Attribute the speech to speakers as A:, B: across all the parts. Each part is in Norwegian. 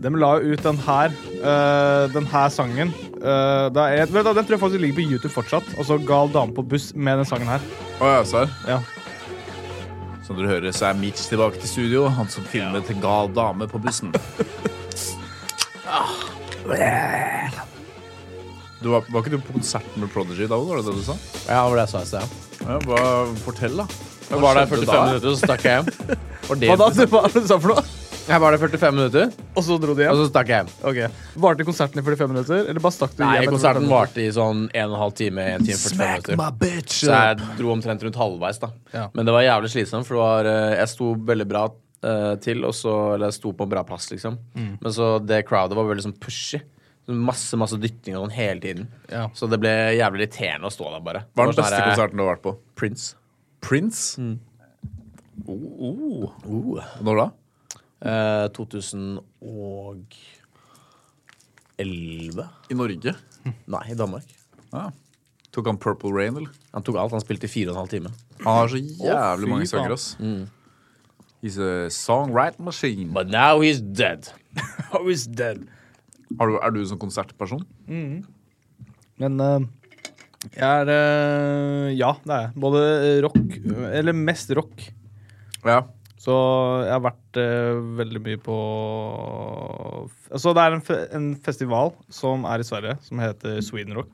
A: De la jo ut den her, eh, den her sangen. Eh, det er, vet du, hva, den tror jeg faktisk ligger på YouTube fortsatt. Altså Gal dame på buss med den sangen her.
B: Å, ja, serr?
A: Ja.
B: Som dere hører, så er Mitch tilbake til studio. Han som filmet en gal dame på bussen. Ah. Du var, var ikke du på konsert med Prodigy da? Var det det du sa?
C: Ja, det var det jeg sa i sted.
B: Ja, hva, fortell, da.
C: Jeg var der
B: skjedde
C: 45
B: da?
C: minutter, og så stakk jeg hjem. Var det
A: Hva da? Du- Hva er det du sa for noe? Altså-
C: Jeg var der 45 minutter,
A: Og så dro de
C: og
A: hjem?
C: så stakk jeg hjem.
A: Ok. Varte konserten i 45 minutter, eller bare stakk du
C: Nei,
A: hjem? etter
C: konserten
A: 45
C: varte i sånn 1 12 time, 1 time 45
B: Smack
C: minutter.
B: my bitch
C: Så jeg dro omtrent rundt halvveis, da.
A: Ja.
C: Men det var jævlig slitsomt, for det var, eh, jeg sto veldig bra eh, til, og så, eller jeg sto på en bra plass, liksom. Men så det crowdet var veldig sånn pushy. Så Masse masse dytting og sånn hele tiden.
A: Ja.
C: Så det ble jævlig irriterende å stå der, bare.
B: Hva er den
C: Det var sånn
B: beste
C: her, eh,
B: konserten du har vært på?
C: Prince.
B: Prince? Oh, oh. Når da?
C: Eh, 2011?
B: I Norge?
C: Nei, i Danmark.
B: Ja. Ah. Tok han Purple Rain, eller?
C: Han tok alt. Han spilte i fire og en halv time.
B: Han har
A: Å,
B: så jævlig
A: fy
B: mange sanger,
A: faen.
B: ass. He's a songwriting machine.
C: But now he's dead. Oh,
B: Har du, er du en sånn konsertperson?
A: Men eh, jeg er eh, Ja, det er jeg. Både rock Eller mest rock.
B: Ja.
A: Så jeg har vært eh, veldig mye på Altså, det er en, fe en festival som er i Sverige, som heter Sweden Rock.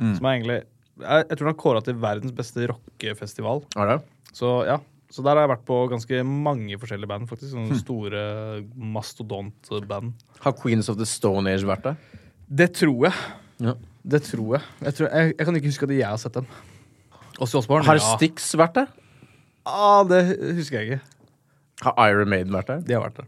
C: Mm.
A: Som er egentlig jeg, jeg tror den er kåra til verdens beste rockefestival.
B: Er det?
A: Så ja. Så der har jeg vært på ganske mange forskjellige band, faktisk.
C: Hm.
A: Sånne store mastodontband.
C: Har Queens of the Stone Age vært der?
A: Det tror jeg.
C: Ja.
A: Det tror jeg. Jeg, tror, jeg. jeg kan ikke huske at jeg har sett dem. Åssi Osborn?
C: Har Styx vært der?
A: Ah, det husker jeg ikke.
C: Har Iron Maiden vært der?
A: De har vært der.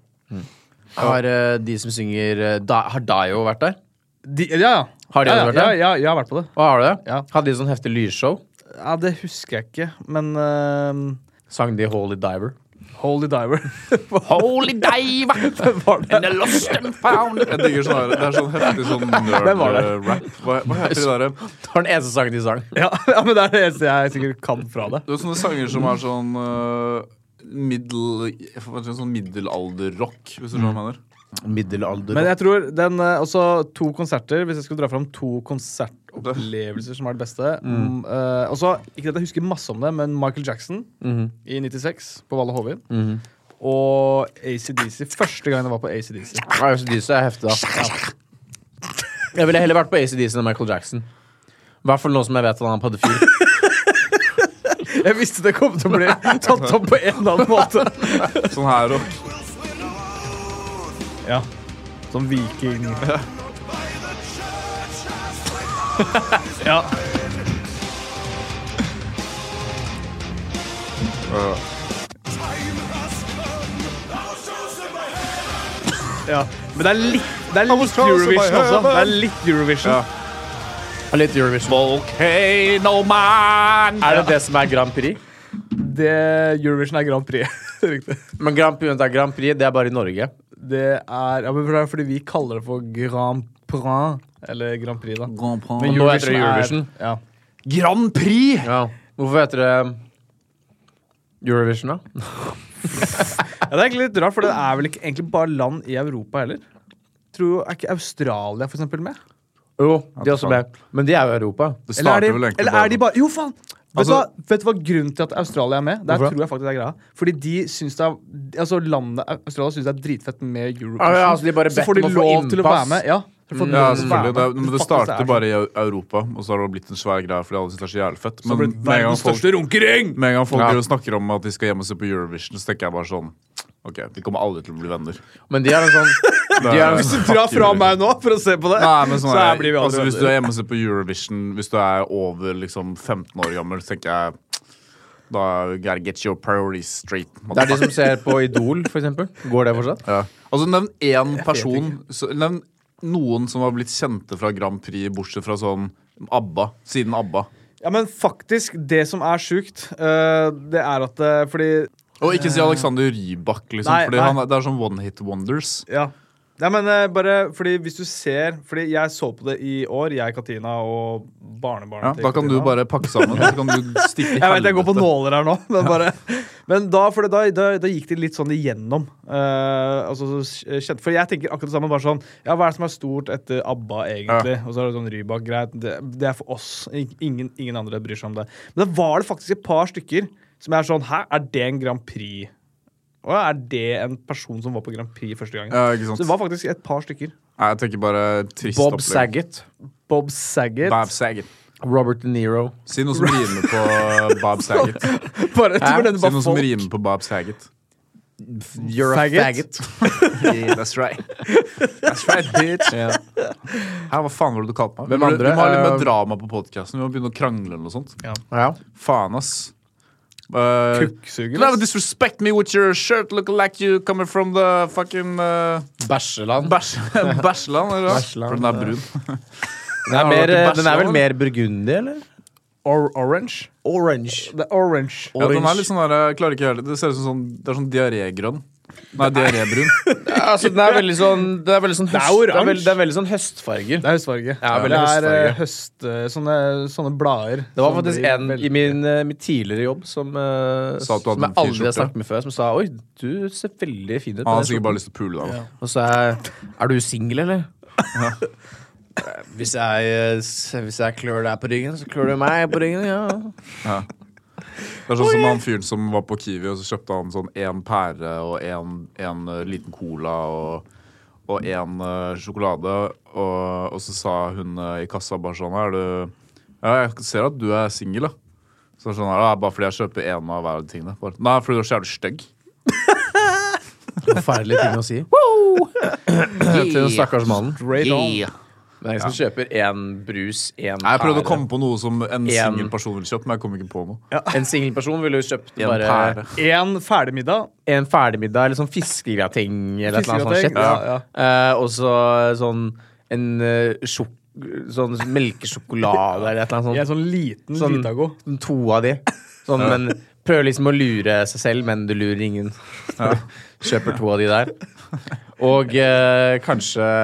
C: Har eh, de som synger eh, da, Har Dio vært der?
A: De, ja, ja.
C: Har
A: ja,
C: de
A: ja,
C: vært
A: Ja,
C: der?
A: ja, jeg har vært på det.
C: Å, har du det?
A: Ja.
C: Hadde de sånn heftig lysshow?
A: Ja, Det husker jeg ikke, men eh,
C: Sang de Holy Diver?
A: Holy Diver
C: Holy Diver!
A: var det.
C: lost and found!
B: Jeg digger sånn her. Det er sånn heftig sånn
A: Hvem var det?
B: nerd-rap. Hva, hva heter det derre?
C: Det var den eneste sangen de sang.
A: Ja, ja, men det er det eneste jeg sikkert kan fra det.
B: Det er sånne sanger som er sånn uh, middel... jeg får faktisk en Sånn middelalderrock, hvis du skjønner hva jeg mener.
C: Middelalder.
A: Men jeg tror den eh, også to konserter, hvis jeg skulle dra fram to konsertopplevelser som er det beste mm. eh, Også, ikke at jeg husker masse om det, men Michael Jackson i 96 på Valle Hovin. Og ACDC. Første gang jeg var på ACDC.
C: Ja, ACDC er heftig, da. Jeg ville heller vært på ACDC enn Michael Jackson. I hvert fall nå som jeg vet at han er pedofil.
A: Jeg visste det kom til å bli tatt opp på en eller annen måte. Mm.
B: Sånn her rock.
A: Ja. Som viking. ja. ja. Men det er litt, det er litt Eurovision også. Det er litt Eurovision.
B: Ja.
C: Har Litt Eurovision.
B: Volcano man!
C: Er det det som er Grand Prix?
A: Det, Eurovision er Grand Prix. Det er Riktig.
C: Men Grand Prix, vent da, Grand Prix det er bare i Norge.
A: Det er, ja, men det er fordi vi kaller det for Grand Prix. Eller Grand Prix, da.
B: Grand Prix.
C: Men nå heter det Eurovision.
A: Er, ja.
B: Grand Prix!
C: Ja. Hvorfor heter det um, Eurovision, da?
A: Ja, det er egentlig litt rart, for det er vel ikke egentlig bare land i Europa heller. Tror, er ikke Australia for eksempel med?
C: Jo, de er også med. Men de er jo i Europa.
B: Det
A: Eller er
B: starter
A: de,
B: vel egentlig
A: eller er de bare Jo, faen! Vet, du hva,
B: Altså-
A: vet du hva grunnen til at Australia er med? Der
C: Hvorfor det?
A: tror jeg faktisk det er greia. Fordi de syns det er Altså landet Australia syns det er dritfett med Eurovision.
C: Ah, ja, altså, de bare
A: så
C: bedt
A: får de
C: om å få
A: lov til å
C: innpass.
A: være med. Ja, så får de
B: Mm. Ja,
A: lov til å være
B: selvfølgelig. Det, er-
A: med.
B: men det
A: Faktisk, er
B: starter
A: sånn.
B: bare i Eu- Europa, og så har det blitt en svær greie fordi alle synes det er så jævlig fett. Men
A: Så blir det
B: med en gang
A: verdens
B: folk,
A: største runkering!
B: med en gang folk
C: Ja.
B: driver og snakker om at de skal hjemme og se på Eurovision, så tenker jeg bare sånn Ok, vi kommer aldri til å bli venner.
C: Men de er en sånn de er en
A: Hvis du drar fra meg nå for å se på det,
B: liksom. Nei, men
A: så
B: sånn er,
A: her blir vi
B: altså,
A: aldri
B: hvis du er hjemme og ser på Eurovision, hvis du er over liksom 15 år gammel, så tenker jeg da you gotta get your priorities straight.
C: Det er de som ser på Idol, for eksempel. Går det fortsatt?
B: Ja. Altså, nevn én person så, Nevn noen som har blitt kjente fra Grand Prix, bortsett fra sånn ABBA. Siden ABBA.
A: Ja, men faktisk, det som er sjukt, øh, det er at øh, Fordi
B: Og ikke si Alexander Rybak, liksom.
A: Eh. Nei,
B: fordi
A: nei.
B: Han er, det er sånn one hit wonders.
A: Ja. Nei, men eh, bare fordi hvis du ser Fordi jeg så på det i år, jeg, Katina og barnebarnet
B: Ja,
A: til
B: da kan du
A: Katina.
B: bare pakke sammen. Så kan du stikke i
A: Jeg vet jeg går på nåler
B: helvete.
A: her nå, men bare Men da, for da, da, da gikk de litt sånn igjennom. Eh, altså, så kjent- for jeg tenker akkurat det samme. bare sånn, ja, Hva er det som er stort etter ABBA, egentlig? Og så er det sånn Rybak, greit. Det, det er for oss. Ing- Ingen, ingen andre bryr seg om det. Men da var det faktisk et par stykker som er sånn Hæ, er det en Grand Prix? Og er det en person som var på Grand Prix første gangen?
B: Ja, ikke sant.
A: Så det var faktisk et par stykker.
B: Nei, jeg tenker bare trist
C: Bob
B: opplegg.
C: Saget.
A: Bob Saget.
B: Bob Saget.
C: Robert De Niro.
B: Si noe som rimer på Bob Saget.
A: Bare, jeg tror
C: Hæ?
A: den
B: Si
A: var
B: noe som
A: folk.
B: rimer på Bob Saget.
C: You're
A: Faggot.
C: a faggot.
B: That's right. That's right, bitch. Hæ, hva faen var det du kalte meg?
C: Hvem
B: Vi må-
C: andre?
B: Vi må ha litt mer
C: Eh,
B: drama på podkasten. Vi må begynne å krangle eller noe sånt.
C: Ja.
B: Faen, ass. Uh,
A: Kukksuger, ass.
B: Never disrespect me with your shirt looking like you coming from the fucking uh,
C: Bæsjeland.
B: bæsj- Bæsjeland, eller hva?
C: Bæsjeland,
B: For den er brun.
C: Den er, mer, den er vel mer burgundy, eller?
A: Or orange.
C: Orange.
A: Det er orange.
B: Ja, den er litt sånn der, jeg klarer ikke å gjøre det. Det ser ut som sånn, det er sånn diarégrønn. Nei, diarébrun.
C: Ja, altså, den er veldig sånn Det er veldig sånn, høst,
A: Det er oransje.
C: det er veldig, det er veldig sånn høstfarger.
A: Det er høstfarge.
C: Ja, veldig
A: det er
C: høstfarge.
A: eh, høst, eh, sånne, sånne blader.
C: Det var
A: som
C: faktisk
A: blir
C: en
A: veldig-
C: i min, eh, mitt tidligere jobb som, eh,
B: Sa at du hadde
C: som jeg
B: en fin
C: aldri har
B: skjorte.
C: snakket med før, som sa Oi, du ser veldig fin ut. på
B: Han har
C: den
B: sikkert bare lyst til å pule deg. da.
C: skjorten.» Og så er Er du singel, eller? Eh, Hvis jeg, eh, s- hvis jeg klør deg på ryggen, så klør du meg på ryggen. Ja.
B: Det er sånn som han fyren som var på Kiwi, og så kjøpte han sånn én pære og en, en eh, liten cola og, og en eh, sjokolade, og, og så sa hun eh, i kassa bare sånn Er du Ja, jeg ser at du er singel, da. Så er det sånn, ja, det er bare fordi jeg kjøper én av hver av de tingene. Bare, Nei, fordi du er så jævlig stygg.
C: Forferdelig ting å si. Til den stakkars mannen.
A: Right on.
C: Men jeg som kjøper én brus, én
B: Nei, Jeg prøvde å
C: pære.
B: komme på noe som en
C: En-
B: singel person ville kjøpt, men jeg kom ikke på noe.
C: En singel person ville jo kjøpt
B: En
C: bare
B: pære.
A: En ferdigmiddag.
C: en ferdigmiddag eller sånn fiskegrating eller et eller annet sånt
A: Fiskegrating,
C: shit.
A: ja,
C: Eh, og så sånn en eh, sjok sånn melkesjokolade eller et eller
A: I en
C: annet sånt.
A: sånn liten
C: Sånn-
A: Litago.
C: Sånn To av de. Sånn, men prøver liksom å lure seg selv, men du lurer ingen. Kjøper to av de der. Og eh, kanskje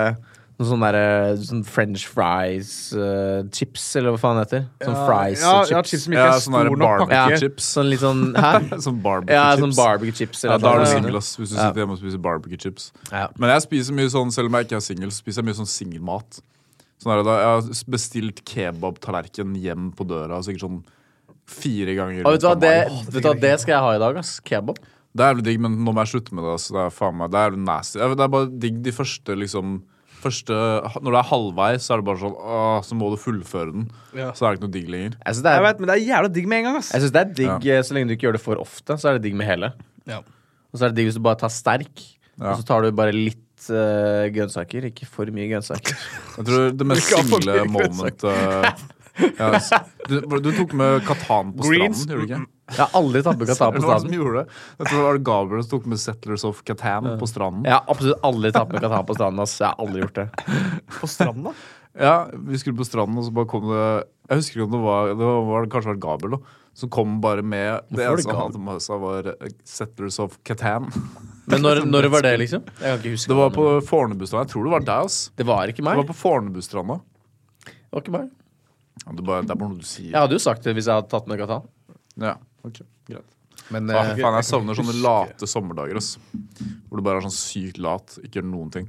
C: noen sånne derre sånn french fries eh, chips, eller hva faen det heter. Sånn fries
A: ja,
C: og
A: ja,
C: chips.
A: chips som ikke
B: Ja,
A: er
B: sånn der
A: stor nok
B: barbecue
A: pakke.
C: Ja,
B: chips.
C: Sånn litt sånn Hæ?
B: Sånn
C: Ja,
B: barbecue-chips.
C: sånn barbecue chips.
B: Ja,
C: eller
B: da er
C: noe sånn.
B: du
C: sånt.
B: singel, ass. Hvis du sitter hjemme og spiser barbecue chips.
C: Ja.
B: Men jeg spiser mye sånn, selv om jeg ikke er singel, så spiser jeg mye sånn singelmat. Sånn er det da. jeg har s- bestilt kebabtallerken hjem på døra, sikkert sånn fire ganger.
C: Og vet du hva,
B: uka
C: det,
B: mai.
C: vet du hva, det skal jeg ha i dag, ass. Kebab.
B: Det er jævlig digg, men nå må jeg slutte med det. ass. Det er faen meg, det er jævlig nasty. Det er bare digg de første, liksom Første, Når det er halvveis, så er det bare sånn åh, Så må du fullføre den.
A: Ja.
B: Så er det ikke noe digg lenger.
C: Jeg syns det
A: Jeg
C: er,
A: vet, men det er jævla digg med en gang, ass.
C: jeg synes det er digg eh, så lenge du ikke gjør det for ofte. Så er det digg med hele.
A: Ja.
C: Og så er det digg hvis du bare tar sterk,
B: Ja.
C: og så tar du bare litt eh, grønnsaker. Ikke for mye grønnsaker.
B: Jeg tror det mest
A: Ikke ha for
B: single
A: mye
C: liksom.
B: momentet ja, s- du, du tok med Katan på
A: Greens.
B: stranden, gjorde du ikke?
C: Jeg har aldri tatt med Qatar på
B: Hvem var det som
C: stranden.
B: gjorde det? Jeg tror det var Gabriel som tok med Settlers of Catan på stranden.
C: Jeg har absolutt aldri tatt med Qatar på stranden. ass. Jeg har aldri gjort det.
A: På stranda.
B: Ja, Vi skulle på stranden, og så bare kom det Jeg husker ikke om det var Det var, var det kanskje var Gabriel, da. Som kom bare med Det
C: var det
B: eneste han
C: Gabriel?
B: hadde med seg, var eh, Settlers of Catan.
C: Men når, når var det, liksom? Jeg kan ikke huske
B: Det var på Fornebustranda. Jeg tror det var deg, ass.
C: det var ikke
B: Det
C: meg.
B: var på Fornebustranda.
C: Det var ikke meg.
B: Ja, det, er bare, det er bare noe du sier.
C: Jeg hadde jo sagt det hvis jeg hadde tatt med Qatar.
B: Ja, ok, greit.
C: Men
B: Ah,
C: eh,
B: faen, jeg savner sånne late sommerdager, ass. Hvor du bare er sånn sykt lat, ikke gjør noen ting.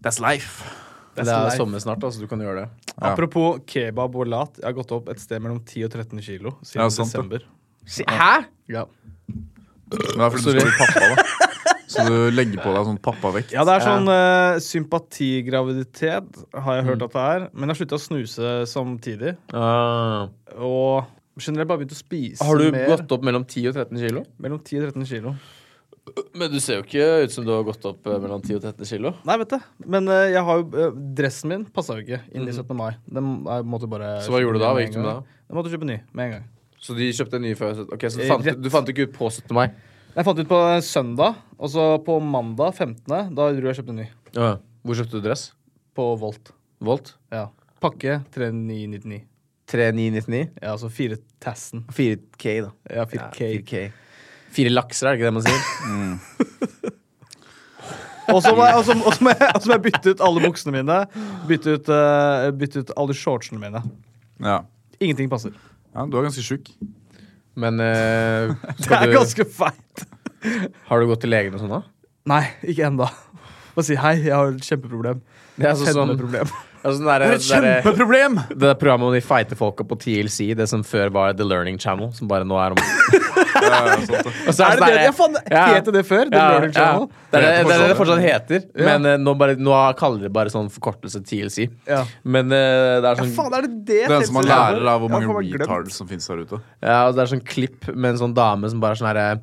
B: That's life.
C: eh, det er sommer snart, da, så du kan gjøre det.
B: Ja.
A: Apropos kebab og lat. Jeg har gått opp et sted mellom 10 og 13 kilo siden
B: Ja, sant det.
A: desember.
C: Hæ?!
A: Ja.
B: Men det er fordi du skal bli pappa, da. Så du legger på deg sånn pappavekt.
A: ja, det er sånn eh, sympatigraviditet, har jeg
C: Mm.
A: hørt at det er. Men jeg har slutta å snuse samtidig.
C: Ah.
A: Og generelt bare begynt å spise
C: Har du
A: mer.
C: gått opp mellom 10 og 13 kilo?
A: Mellom 10 og 13 kilo.
C: Men du ser jo ikke ut som du har gått opp eh, mellom 10 og 13 kilo.
A: Nei, vet det. Men eh, jeg har jo, eh, dressen min passa jo ikke inn i 17. mai. Den eh, måtte jeg bare
C: Mhm. Så hva gjorde du da? Hva gikk du med da?
A: Jeg måtte kjøpe ny med en gang.
C: Så de kjøpte en ny før? Ok, så du
A: Eh,
C: fant,
A: rett.
C: du fant ikke ut på 17. mai?
A: Jeg fant ut på søndag, og så på mandag 15. Da dro jeg og kjøpte ny.
C: Hvor kjøpte du dress?
A: På Volt.
C: Volt?
A: Ja. Pakke 3999.
C: 3999?
A: Ja, altså 4 Tassen.
C: 4K, da.
A: Ja, 4K.
C: Fire lakser, er det ikke det man sier?
A: Og så må jeg- og så- og så må jeg- og så må jeg bytte ut alle buksene mine. Bytte ut, eh, bytte ut alle shortsene mine.
B: Ja.
A: Ingenting passer.
B: ja, du er ganske tjukk.
C: Men eh,
A: Det
C: skal
A: er
C: du,
A: ganske feit.
C: har du gått til legen og sånn, da?
A: Nei, ikke ennå. Bare si hei, jeg har et kjempeproblem.
C: Det er sånn som-
A: Kjempeproblem.
C: Ja, sånn der, det, der,
A: kjempeproblem!
C: det der programmet hvor de fighter folka på TLC, det som før var The Learning Channel, som bare nå er om Og så
A: Er det det?
C: sånn der-
A: Jeg faen,
C: Ja.
A: het det det før? The
C: Ja,
A: Learning Channel?
C: Ja. Det, er, det, det er det det
B: fortsatt
C: fortsatt heter, men eh, nå, bare, nå kaller de det bare sånn forkortelse TLC.
A: Ja.
C: Men eh, det er
A: Ja,
C: sånn
A: faen, er det det
B: Det eneste man
A: TV-serien
B: lærer av hvor
A: Ja,
B: mange
A: faen, jeg har glemt.
B: retards som finnes der ute.
C: Ja, og det er sånn klipp med en sånn dame som bare er sånn her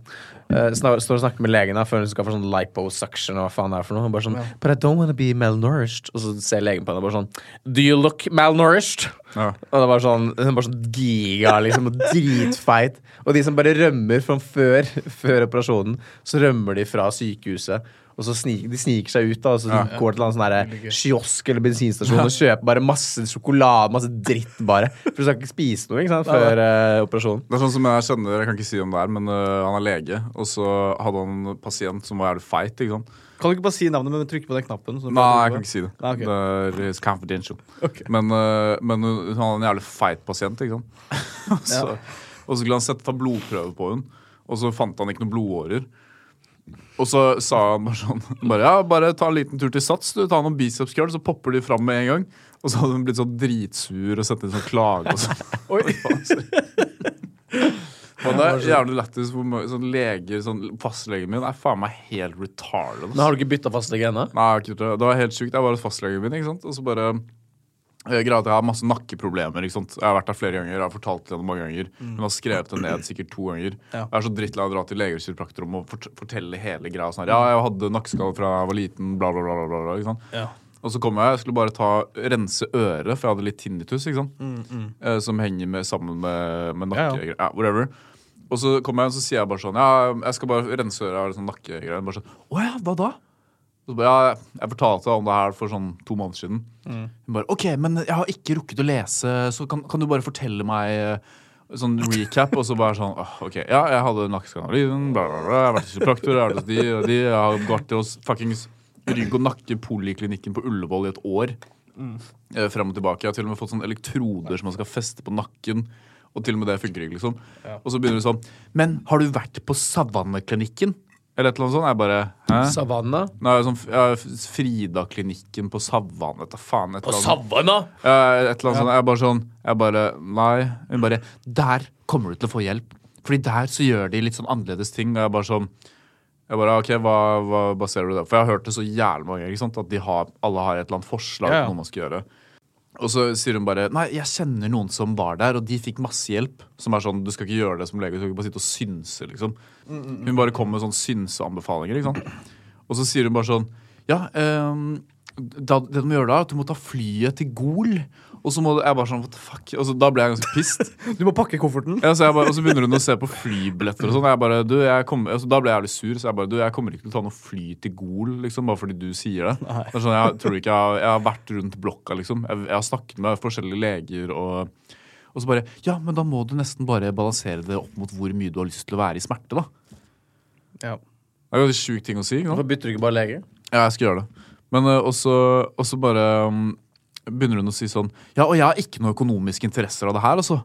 C: eh, snak, står og snakker med legen da, før hun skal få sånn liposuction og hva faen det er for noe. Hun Bare sånn, But I don't wanna be malnourished. Og så ser legen på henne og bare sånn Do you look malnourished?
B: Ja.
C: Og det var sånn, hun bare sånn giga, liksom, og dritfeit. Og de som bare rømmer fra før, før operasjonen, så rømmer de fra sykehuset. Og så sniker, De sniker seg ut da, og så de går til en sånn her kiosk eller bensinstasjon og kjøper bare masse sjokolade, masse dritt, bare. For du skal ikke spise noe ikke sant, før eh, operasjonen.
B: Det er sånn som jeg kjenner, jeg kan ikke si om det er, men øh, han er lege. Og så hadde han en pasient som var jævlig feit. ikke sant?
A: Kan du ikke bare si navnet, men trykke på den knappen? så du
B: Nei, jeg
A: bare
B: kan ikke si det.
A: Nei, Ah, ok.
B: Det er eh, confidential.
A: Ok.
B: Men, øh, men hun han hadde en jævlig feit pasient, ikke sant. og, så, og så skulle han sette, ta blodprøve på hun og så fant han ikke noen blodårer. Og så sa han bare sånn bare, Ja, bare ta en liten tur til Sats, du. Ta noen biceps curl, så popper de fram med en gang. Og så hadde hun blitt sånn dritsur og sett inn sånn klage og sånn. Men det er jævlig lættis hvor mange sånn leger sånn, Fastlegen min er faen meg helt retarded. altså. ass.
C: Men har du ikke bytta fastlege ennå?
B: Nei, jeg har ikke gjort det. det var helt sjukt. Jeg var hos fastlegen min, ikke sant? og så bare eh, Greia at jeg har masse nakkeproblemer. ikke sant? Jeg har vært der flere ganger. Jeg har fortalt til henne mange ganger. Hun har skrevet det ned sikkert to ganger.
A: Mm. Ja.
B: Jeg er så drittlei av å dra til leger og kiropraktor om å fort fortelle hele greia. sånn her. Ja, jeg hadde nakkeskade fra jeg var liten, bla, bla, bla. bla, bla, bla ikke sant?
A: Ja.
B: Og så kom jeg, jeg skulle bare ta, rense øret, for jeg hadde litt tinnitus, ikke sant? Eh, som henger med, sammen med,
A: Mm,
B: med
A: Ja, ja.
B: nakkegreier. Ja, whatever. Og så kommer jeg, og så sier jeg bare sånn, ja, jeg skal bare rense øret, jeg har litt sånn nakkegreier. Bare sånn, åja, hva da? Og så bare, ja, jeg fortalte om det her for sånn to måneder siden. Hun bare, ok, men jeg har ikke rukket å lese, så kan, kan du bare fortelle meg... eh, Sånn recap, og så bare sånn åh, Ok, ja, jeg hadde nakkeskade av livet, bla, bla, bla. Jeg har vært hos kiropraktor, jeg har vært hos de og de. Jeg har vært hos fuckings rygg- og nakkepoliklinikken på Ullevål i et år eh, frem og tilbake. Jeg har til og med fått sånne elektroder som man skal feste på nakken. Og til og med det funker ikke, liksom. Og så begynner du sånn Men har du vært på Savanneklinikken? Eller et eller annet sånt. Jeg bare Hæ?
C: Savanna?
B: Nei, sånn, f- ja, f- Frida-klinikken på Savanne. Vet da faen. Et eller annet.
C: Savanna!
B: Eh, et eller annet sånt. Jeg bare sånn Jeg bare Nei. Hun bare Der kommer du til å få hjelp. Fordi der så gjør de litt sånn annerledes ting. Og jeg bare sånn jeg bare, ok, hva, hva baserer du det på? For jeg har hørt det så jævlig mange ganger. ikke sant? At de har, alle har et eller annet forslag
A: Ja,
B: til
A: ja.
B: noe man skal gjøre. Og så sier hun bare Nei, jeg kjenner noen som var der, og de fikk masse hjelp. Som er sånn, Du skal ikke gjøre det som lege, du skal ikke bare sitte og synse, liksom.
A: Mm,
B: Hun bare kom med sånn synseanbefalinger, ikke sant. Og så sier hun bare sånn Ja, ehm, da, det du må gjøre da, er at du må ta flyet til Gol. Og så må du Jeg bare sånn, what the fuck? Og så, da ble jeg ganske pissed.
A: Du må pakke kofferten.
B: Ja, så jeg bare, og så begynner hun å se på flybilletter og sånn. og Jeg bare, du, jeg kommer- altså, da ble jeg jævlig sur, så jeg bare Du, jeg kommer ikke til å ta noe fly til Gol, liksom, bare fordi du sier det. det er sånn, jeg tror ikke jeg har, jeg har vært rundt blokka, liksom. Jeg, jeg har snakket med forskjellige leger og Og så bare Ja, men da må du nesten bare balansere det opp mot hvor mye du har lyst til å være i smerte, da.
A: Ja.
B: Det er jo en sjuk ting å si. ikke sant?
C: Hvorfor bytter du ikke bare lege?
B: Ja, jeg skal gjøre det. Men eh, også, også bare mm, begynner hun å si sånn Ja, og jeg har ikke noen økonomiske interesser av det her, altså.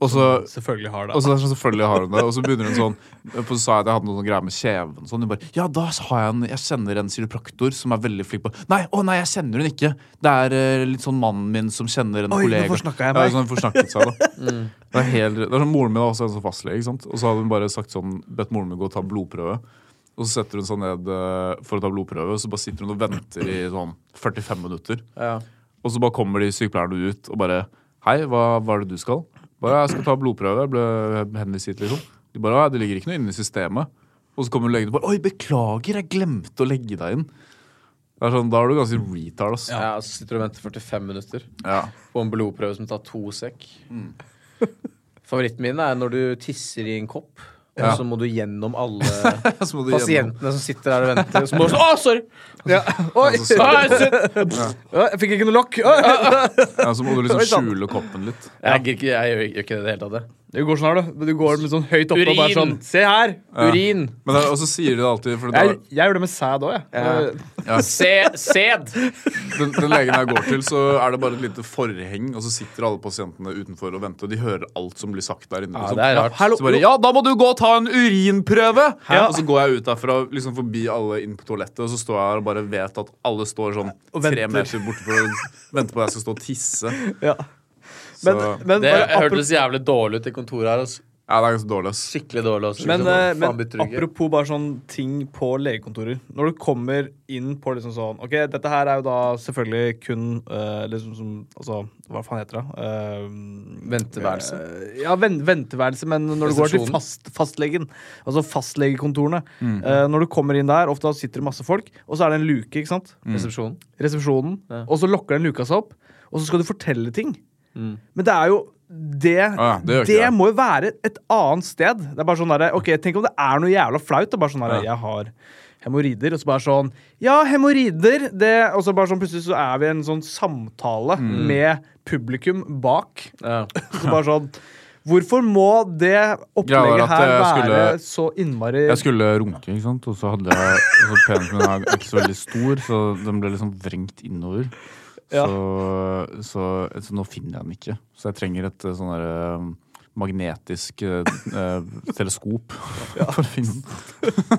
B: Og så
A: Selvfølgelig har det.
B: og så er det sånn, selvfølgelig har hun det. Og så begynner hun sånn For så sa jeg at jeg hadde noen sånne greier med kjeven. og Sånn. Hun bare Ja, da har jeg en Jeg kjenner en kiropraktor som er veldig flink på Nei, å nei, jeg kjenner hun ikke. Det er eh, litt sånn mannen min som kjenner en
A: Oi, nå
B: kollega.
A: forsnakka jeg
B: Ja,
A: meg.
B: sånn, forsnakket seg, da. det, er helt, det er sånn Moren min har også en sånn fastlege, ikke sant. Og så hadde hun bare sagt sånn Bedt moren min gå og ta blodprøve. Og så setter hun seg ned eh, for å ta blodprøve, og så bare sitter hun og venter i sånn 45 minutter. Og så bare kommer de sykepleierne ut og bare Hei, hva, hva er det du skal? Bare, jeg skal ta blodprøve. Jeg ble henvist hit, liksom. De bare, «Ja, Det ligger ikke noe inne i systemet. Og så kommer legen og bare Oi, beklager, jeg glemte å legge deg inn. Det er sånn, Da er du ganske retard, ass.
C: Ja, og Så sitter du og venter 45 minutter
B: Ja.
C: på en blodprøve som tar to sekk. Favoritten min er når du tisser i en kopp, og
B: Ja.
C: så må du gjennom alle
B: Så må du gjennom-
C: pasientene som sitter der og venter. Og så må du sånn Å, sorry!
A: Ja. Oi!
B: Altså, så-
C: Ah, shit!
A: Oi, Jeg fikk ikke noe lokk. Oi.
B: Ja, så må du liksom
A: Oi, sant.
B: skjule koppen litt.
C: Jeg, gir ikke, jeg gjør ikke det i det hele tatt. det.
A: Du går sånn her, du. Du går litt sånn høyt oppe og bare sånn
C: Urin.
A: Se her!
B: Ja.
C: Urin.
B: Men da, og så sier de det alltid, for da,
A: Jeg, jeg gjør det med sæd òg, jeg.
C: Ja.
B: Ja.
C: Se, sæd.
B: den, den legen jeg går til, så er det bare et lite forheng, og så sitter alle pasientene utenfor og venter, og de hører alt som blir sagt der inne.
C: Ja,
B: liksom.
C: det er rart.
A: hallo.
B: Så bare, ja, da må du gå og ta en urinprøve! Og så går jeg ut derfra, liksom forbi alle inn på toalettet, og så står jeg her og bare vet at alle står sånn
A: Og venter.
B: tre meter borte for å vente på at jeg skal stå og tisse.
A: Ja.
B: Så
A: Men, men
C: Det
A: bare apropos-
C: hørtes jævlig dårlig ut i kontoret her. Altså.
B: ja, det er ganske dårlig, ass.
C: Skikkelig dårlig. Altså.
A: Men, eh,
C: Faen,
A: men
C: betrygger.
A: apropos bare sånn ting på legekontorer. Når du kommer inn på liksom sånn Ok, dette her er jo da selvfølgelig kun eh, liksom som Altså, hva faen heter det? Eh,
C: Venteværelse.
A: eh, ja, ven venteværelse, men når du går til
C: Resepsjonen. Mm.
A: fast, fastlegen. Altså fastlegekontorene. Eh, når du kommer inn der, ofte sitter det masse folk, og så er det en luke, ikke sant?
C: Mm. Resepsjonen.
A: resepsjonen,
C: Ja.
A: og så lokker den luka seg opp, og så skal du fortelle ting.
C: Mm.
A: Men det er jo det,
B: ja, det gjør ikke jeg.
A: må jo være et annet sted. Det er bare sånn der, ok, Tenk om det er noe jævla flaut. Det er bare sånn der,
B: Ja.
A: Jeg har hemoroider. Og så bare sånn Ja, hemoroider! det- Og så bare sånn, plutselig så er vi i en sånn samtale
B: Mm.
A: med publikum bak.
C: Ja.
A: Så bare sånn Hvorfor må det
B: Greia var
A: opplegget
B: at
A: her
B: jeg
A: være
B: skulle-
A: så innmari
B: Jeg skulle runke, ikke sant? og så hadde jeg altså, Penisen min er ikke så veldig stor, så den ble liksom vrengt innover.
A: Ja.
B: Så, så, så nå finner jeg den ikke. Så jeg trenger et eh, sånn der eh, magnetisk eh, eh, teleskop for å finne den.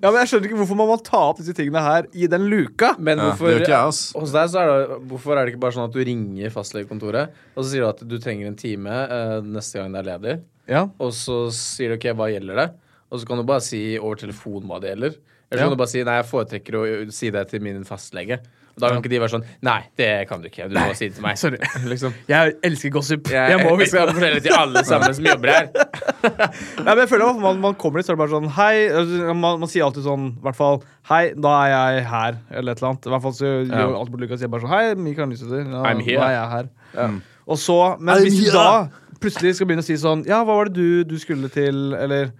A: Ja, men Jeg skjønner ikke hvorfor man må ta opp disse tingene her i den luka.
C: Men
B: Ja, det
C: hvorfor,
B: gjør ikke jeg, ass.
C: hos deg så er det, hvorfor er det ikke bare sånn at du ringer fastlegekontoret, og så sier du at du trenger en time eh, neste gang det er ledig,
A: Ja.
C: og så sier du OK, hva gjelder det? Og så kan du bare si over telefon hva det gjelder. Eller så
A: Ja.
C: kan du bare si nei, jeg foretrekker å ø, si det til min fastlege. Og da kan ikke de være sånn Nei, det kan du ikke. Du må si det til meg.
A: Sorry.
C: Liksom.
A: Jeg elsker gossip.
C: Jeg,
A: jeg må
C: jeg
A: vite
C: skal fortelle til alle sammen som jobber her.
A: Nei, men jeg føler at man, man kommer dit, så er det bare sånn Hei altså, Man, man sier alltid sånn, i hvert fall Hei, da er jeg her, eller et eller annet. I hvert fall så gjør
B: Ja.
A: alt på Lukas sier bare sånn Hei, Mikael Nysæter. Ja,
C: I'm here.
A: Nå er jeg her.
B: Mm.
A: Og så Men hvis du
B: here.
A: da plutselig skal begynne å si sånn Ja, hva var det du, du skulle til, eller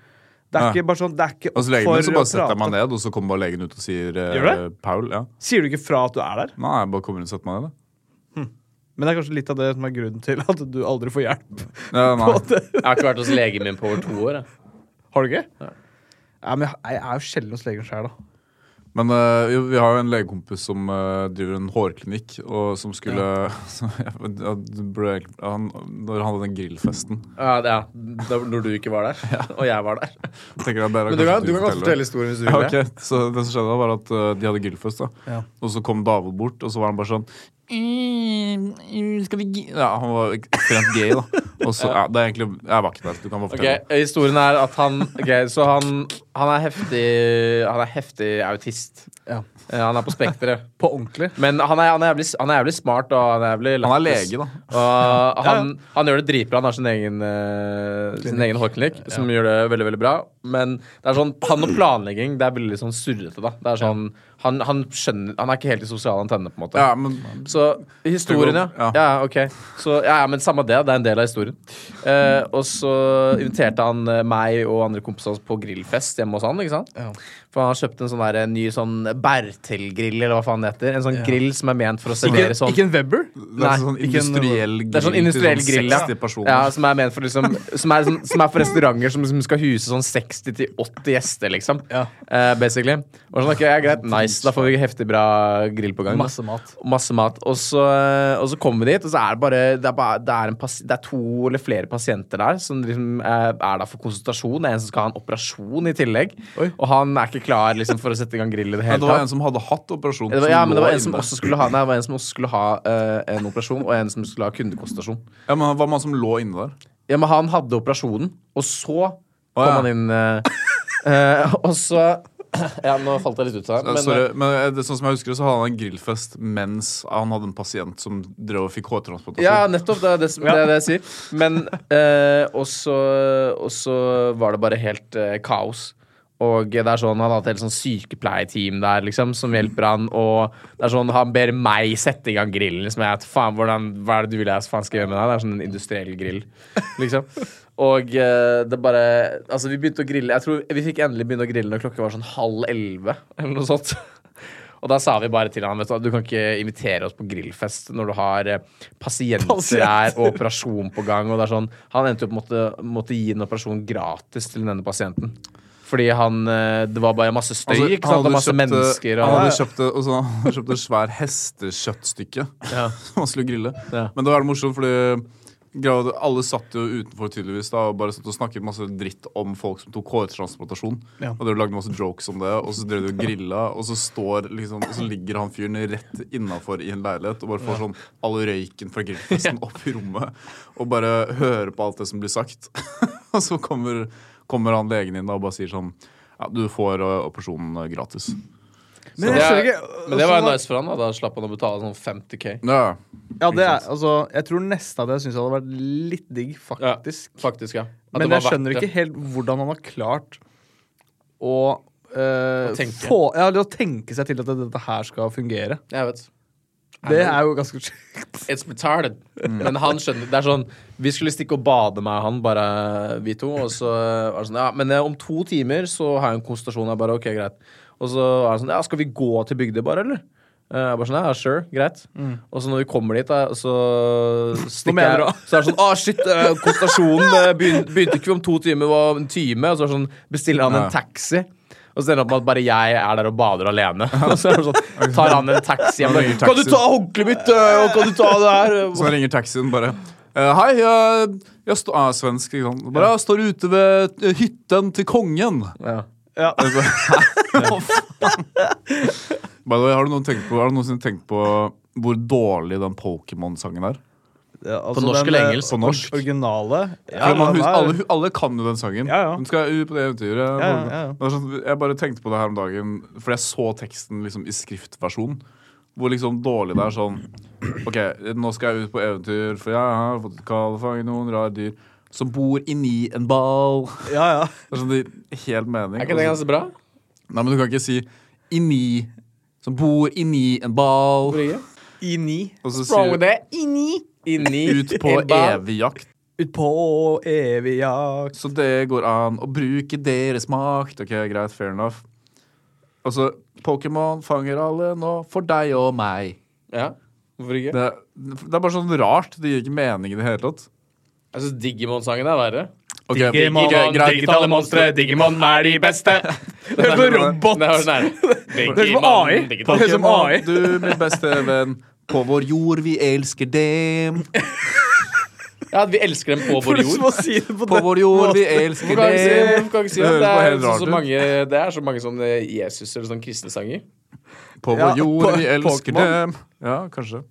A: Det er
B: Ja.
A: ikke bare sånn Det er ikke
B: Og så legen min, så
A: for å
B: bare setter jeg meg
A: prate.
B: ned, og så kommer bare legen ut og sier eh,
A: Gjør
B: Paul. ja.
A: Sier du ikke fra at du er der?
B: Nei, jeg bare kommer rundt og setter meg ned. da.
A: Men det er kanskje litt av det som er grunnen til at du aldri får hjelp.
B: Ja, nei.
C: Jeg har ikke vært hos legen min på over to år. Jeg.
A: Har du ikke? Ja. men jeg, jeg er jo sjelden hos legen sjøl, da.
B: Men eh, jo, vi har jo en legekompis som eh, driver en hårklinikk, og som skulle som- ja. det ble, han, Når han hadde den grillfesten
C: Ja, det, ja. Da, når du ikke var der, og jeg var der.
B: tenker jeg bedre
C: Men du
B: kanskje
C: kan, du kan godt
B: forteller.
C: fortelle historien hvis du
B: Ja,
C: vil. det.
B: ok. Så det som skjedde, var at eh, de hadde grillfest, da.
A: Ja.
B: Og så kom David bort, og så var han bare sånn «Mm, mm, skal vi gi-» Ja, han var ekstremt gay, da. Og så, ja, det er egentlig, Jeg var ikke der, så du kan bare
C: Ok,
B: fortelle.
C: Historien er at han Ok, Så han, han er heftig Han er heftig autist.
A: Ja.
C: Eh, Han er på spekteret.
A: På ordentlig.
C: Men han er, han, er jævlig, han er jævlig smart, og han er jævlig
B: Han er
C: lættis.
B: lege, da.
C: Og han, han gjør det dritbra. Han har sin egen, eh, sin egen hårklinikk, som gjør det veldig veldig bra. Men det er sånn, han og planlegging det er veldig sånn surrete. da Det er sånn, han, han skjønner Han er ikke helt i sosiale antennene, på en måte.
B: Ja, men
C: Så historien, ja.
B: Ja.
C: ja ok. Så, ja, ja, men samme det, det er en del av historien. Eh, og så inviterte han eh, meg og andre kompiser hans på grillfest hjemme hos han. ikke sant?
A: Ja.
C: For han har kjøpt en sånn der, en ny sånn Bertel-grill, eller hva faen det heter. En sånn
A: Ja.
C: grill som er ment for å
A: Ikke,
C: servere sånn
A: ikke en Webber?
B: det er
C: Nei,
B: sånn
A: ikke en-
B: industriell grill
C: det er sånn industriell
B: til
C: grill, ja.
B: 60 personer.
C: ja som, er ment for liksom, som, er, sånn- som er for restauranter som, som skal huse sånn 60-80 gjester, liksom.
A: Ja.
C: Eh, basically. Og sånn, ok, ja, greit, nice, Da får vi heftig bra grill på gang. da.
A: Masse mat.
C: Og Masse mat. Og så, og så kommer vi dit, og så er det bare Det er, bare, det er, en pas, det er to eller flere pasienter der som liksom eh, er der for konsultasjon. Det er en som skal ha en operasjon i tillegg.
A: Oi.
C: Og han er ikke klar liksom, for å sette i gang grill i det
B: Men
C: hele
B: det var en
C: tatt.
B: som hadde hatt operasjon.
C: Det var, ja, men det
B: lå
C: var en som
B: inne.
C: også skulle ha, nei, det var en som også skulle ha eh, en operasjon, og en som skulle ha kundekonsultasjon.
B: Ja, men Hva med han som lå inne der?
C: Ja, men han hadde operasjonen, og så kom
B: ja.
C: han inn eh, eh, Og så Ja, nå falt jeg litt ut av det.
B: Ja,
C: men,
B: Sorry,
C: eh,
B: men eh, det, sånn som jeg husker det, så hadde han en grillfest mens han hadde en pasient som drev og fikk hårtransplantasjon.
C: Ja, nettopp. Det er det, som, det, er det jeg sier. Men eh, og så- og så var det bare helt eh, kaos. Og det er sånn, Han hadde et helt sånn sykepleieteam der liksom, som hjelper han. Og det er sånn, han ber meg sette i gang grillen. Liksom. Jeg, vet, faen, hvordan, hva er det du vil jeg faen skal gjøre med deg? Det er sånn en industriell grill. liksom. Og eh, det bare Altså, vi begynte å grille Jeg tror vi fikk endelig begynne å grille når klokka var sånn halv elleve eller noe sånt. Og da sa vi bare til han vet du, hva, du kan ikke invitere oss på grillfest når du har eh, pasienter her og operasjon på gang. Og det er sånn, han endte opp med å måtte- måtte gi en operasjon gratis til denne pasienten. Fordi han, eh, det var bare masse støy
B: Altså,
C: ikke sant? og masse
B: kjøpt, eh,
C: mennesker. Og,
B: han hadde kjøpt, eh, og så han hadde kjøpt et svær hestekjøttstykke som han skulle grille.
C: Ja.
B: Men det var det morsomt, fordi eh, grad- alle satt jo utenfor tydeligvis da, og bare satt og snakket masse dritt om folk som tok kåretransplantasjon.
A: Ja.
B: Og dere lagde masse jokes om det, og så drev de og grilla, og så, står, liksom, og så ligger han fyren rett innafor i en leilighet og bare får sånn all røyken fra grillfesten opp i rommet, og bare hører på alt det som blir sagt. og så kommer, kommer han legen inn da, og bare sier sånn ja, du får eh, operasjonen eh, gratis.
A: Men jeg
C: det
A: skjønner
C: er-
A: ikke altså,
C: men det var jo
A: også-
C: nice for han da. Da slapp han å betale sånn 50K.
B: Ja,
A: Ja, det er, altså, jeg tror nesten at jeg syns det hadde vært litt digg, faktisk.
C: Faktisk, ja. At det
A: Men
C: var
A: jeg skjønner
C: verdt
A: ikke
C: det.
A: helt hvordan han har klart å eh,
C: Å tenke.
A: Få, ja, eller å tenke seg til at dette her skal fungere.
C: Jeg vet.
A: Det er jo ganske sjukt.
C: It's retarded. Men han skjønner Det er sånn Vi skulle stikke og bade med han, bare vi to. Og så var det sånn Ja, men eh, om to timer så har jeg en konsultasjon. Jeg bare OK, greit. Og så er det sånn Ja, skal vi gå til Bygdøy bare, eller? Eh, Jeg bare sånn, ja, sure, greit Og så når vi kommer dit, da, så stikker
A: mener du,
C: jeg
A: da?
C: Så er det sånn, ah shit, eh, konsultasjonen eh, begyn- begynte ikke om to timer Det var en time, og så er det sånn, bestiller han
B: Ja.
C: en taxi Og så ender det opp med at bare jeg er der og bader alene Og så er det sånn, tar han en taxi Jeg bare,
B: ringer
C: Kan du
B: taxi.
C: ta håndkleet mitt, eh, og kan du ta det her
B: Så ringer taxien bare «Eh, Hei, jeg, jeg sto- ah, svensk, ikke sant. Bare, jeg står ute ved eh, hytten til kongen.
C: Ja.
A: Ja.
B: Og så- Hva faen? By the way, har du noen tenkt på, har du noensinne tenkt på hvor dårlig den Pokémon-sangen er?
A: altså,
C: norsk
A: den,
C: eller
A: eh,
C: engelsk?
B: På norsk?
A: Originale.
B: For man,
A: den
B: hus-
A: er-
B: alle, alle kan jo den sangen.
A: Ja, ja.
B: Hun skal ut på det eventyret.
A: ja, ja.
B: Men det er sånn- Jeg bare tenkte på det her om dagen, for jeg så teksten liksom i skriftversjon. Hvor liksom dårlig det er sånn OK, nå skal jeg ut på eventyr, for jeg har fått et kall og fanget noen rar dyr som bor inni en ball.
A: ja, ja.
B: Det er sånn det gir helt mening.
C: Er ikke det
B: Og så-
C: ganske bra?
B: Nei, men du kan ikke si inni som bor inni en ball.
A: I ni.
B: Og så
C: Wrong
B: sier
C: with
B: du
C: that. Inni. Inni.
B: ut på evig jakt.
A: Ut på evig jakt.
B: Så det går an å bruke deres makt. Ok, greit, fair enough. Altså, Pokémon fanger alle nå, for deg og meg.
C: Ja. Hvorfor ikke?
B: Det, det er bare sånn rart. Det gir ikke mening i det hele tatt.
C: Jeg syns Digimon-sangen er verre.
B: Ok,
A: Digimon,
B: ok, greit.
A: digitale monstre,
C: Digimon er de beste. Det
A: høres ut som robot.
C: Det høres nærmere.
A: Det høres ut som AI.
C: digitale-
A: Det høres ut som
B: Pokémon,
A: AI.
B: du, min beste venn. På vår jord, vi elsker dem.
C: Ja, at vi elsker dem på
A: For
C: vår
A: du som må
C: jord.
A: si det på,
B: På
A: den
B: vår jord, vi
A: måten.
B: elsker
C: Hvorfor kan vi si,
B: dem.
C: hvorfor kan vi si
B: Det
C: at det
B: høres
C: er,
B: bare
C: så,
B: helt
C: så
B: rart ut.
C: mange, det er så mange sånne Jesus- eller sånne kristne sanger.
B: På
A: Ja,
B: vår jord,
A: po-
B: vi elsker
A: Pokémon.
B: dem. Ja, kanskje.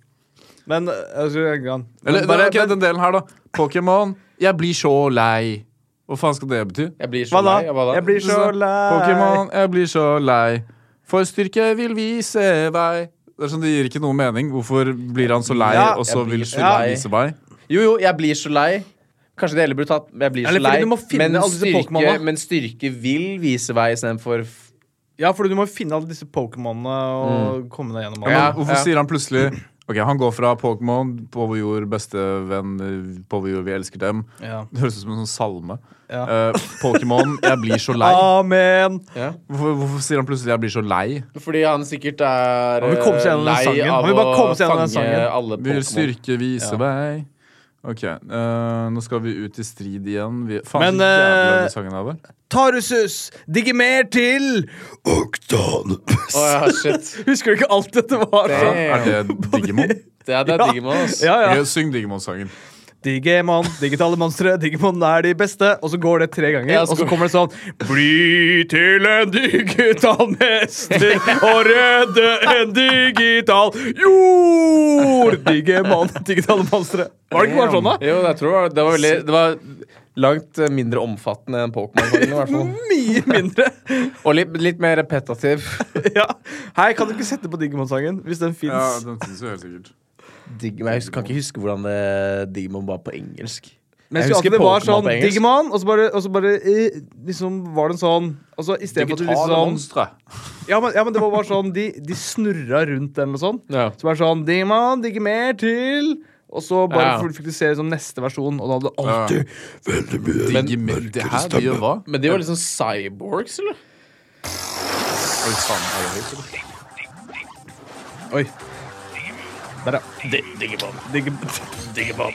A: Men eh, altså, jeg kan.
B: Eller
A: bare,
B: ok, den delen her, da. Pokémon, jeg blir så lei. Hva faen skal det bety? Sånn.
C: Jeg blir så
A: hva da?
C: lei. ja, Hva da?
A: Jeg blir så lei.
B: Pokémon, jeg blir så lei. For styrke vil vise vei. Det er sånn, Det gir ikke noe mening. Hvorfor blir han så lei,
A: Ja,
B: og så
C: jeg blir
B: vil
C: så
B: styrke
C: lei.
B: vise vei?
C: Jo, jo, jeg blir så lei. Kanskje det heller burde tatt Jeg blir så
A: Eller fordi
C: lei.
A: du må finne
C: Men
A: alle disse Pokémonene.
C: styrke, men styrke vil vise vei istedenfor f-
A: Ja, for du må finne alle disse Pokémonene og komme deg gjennom alle.
C: Ja,
B: Hvorfor sier han plutselig Ok, Han går fra Pokémon, på vår jord, bestevenn, på vår jord, vi elsker dem.
A: Ja.
B: Det høres ut som en sånn salme.
A: Ja.
B: Eh, Pokémon, jeg blir så lei.
A: Amen!
C: ja.
B: Hvorfor, hvorfor sier han plutselig 'jeg blir så lei'?
C: Fordi han sikkert er
A: Han vil komme seg gjennom den
C: eh, lei
A: sangen. Han
C: av
A: vil bare
C: å
A: komme seg gjennom
C: fange
A: den sangen.
C: alle
B: Vil
C: Pokémon.
B: styrke vise vei. Ok, eh, nå skal vi ut i strid igjen. Vi, faen,
A: Men,
B: så jævlig
A: eh,
B: den sangen er, vel?
A: Tarusus! Digimer til Oktanus!
C: Å ja, shit.
A: Husker du ikke alt dette var?
B: Ja,
A: sånn?
B: er det Digimon?
C: Det er, det er
A: Ja.
C: Digimon, ass.
A: Ja, ja.
B: Ok, Syng Digimon-sangen.
A: Digimon, digitale monstre, Digimon er de beste. Og så går det tre ganger,
C: Ja, så
A: og så
C: går-
A: kommer det sånn Bli til en digital mester og redde en digital jord! Digimon, digitale monstre. Var det ikke bare sånn, da?
C: Jo, jeg tror det var- det var veldig Det var langt eh, mindre omfattende enn Pokémon-sangen, i hvert fall.
A: Mye mindre.
C: Og litt, litt mer repetativ.
A: Ja. Hei, kan du ikke sette på Digimon-sangen hvis den fins?
B: Ja, den finnes jo helt sikkert.
C: Digimon, jeg husker, kan ikke huske hvordan det, Digimon var på engelsk.
A: Men jeg husker
C: Jeg
A: alltid
C: husker
A: det var
C: Pokémon
A: sånn
C: på engelsk.
A: Digimon, og så bare, og så bare eh, liksom var det en sånn Altså i stedet for at du liksom ja men, ja, men det var bare sånn De, de snurra rundt den eller sånn.
C: Ja.
A: Så bare sånn Digimon, digger mer til Og så bare
C: Ja.
A: ja. fikk du se liksom neste versjon, og da hadde det alltid
B: Digimon, det her, de gjør hva?
C: Men de var liksom cyborgs, eller?
B: Oi, faen, er det høyt, eller?
A: Oi. Der, ja. Digimon. Digimon.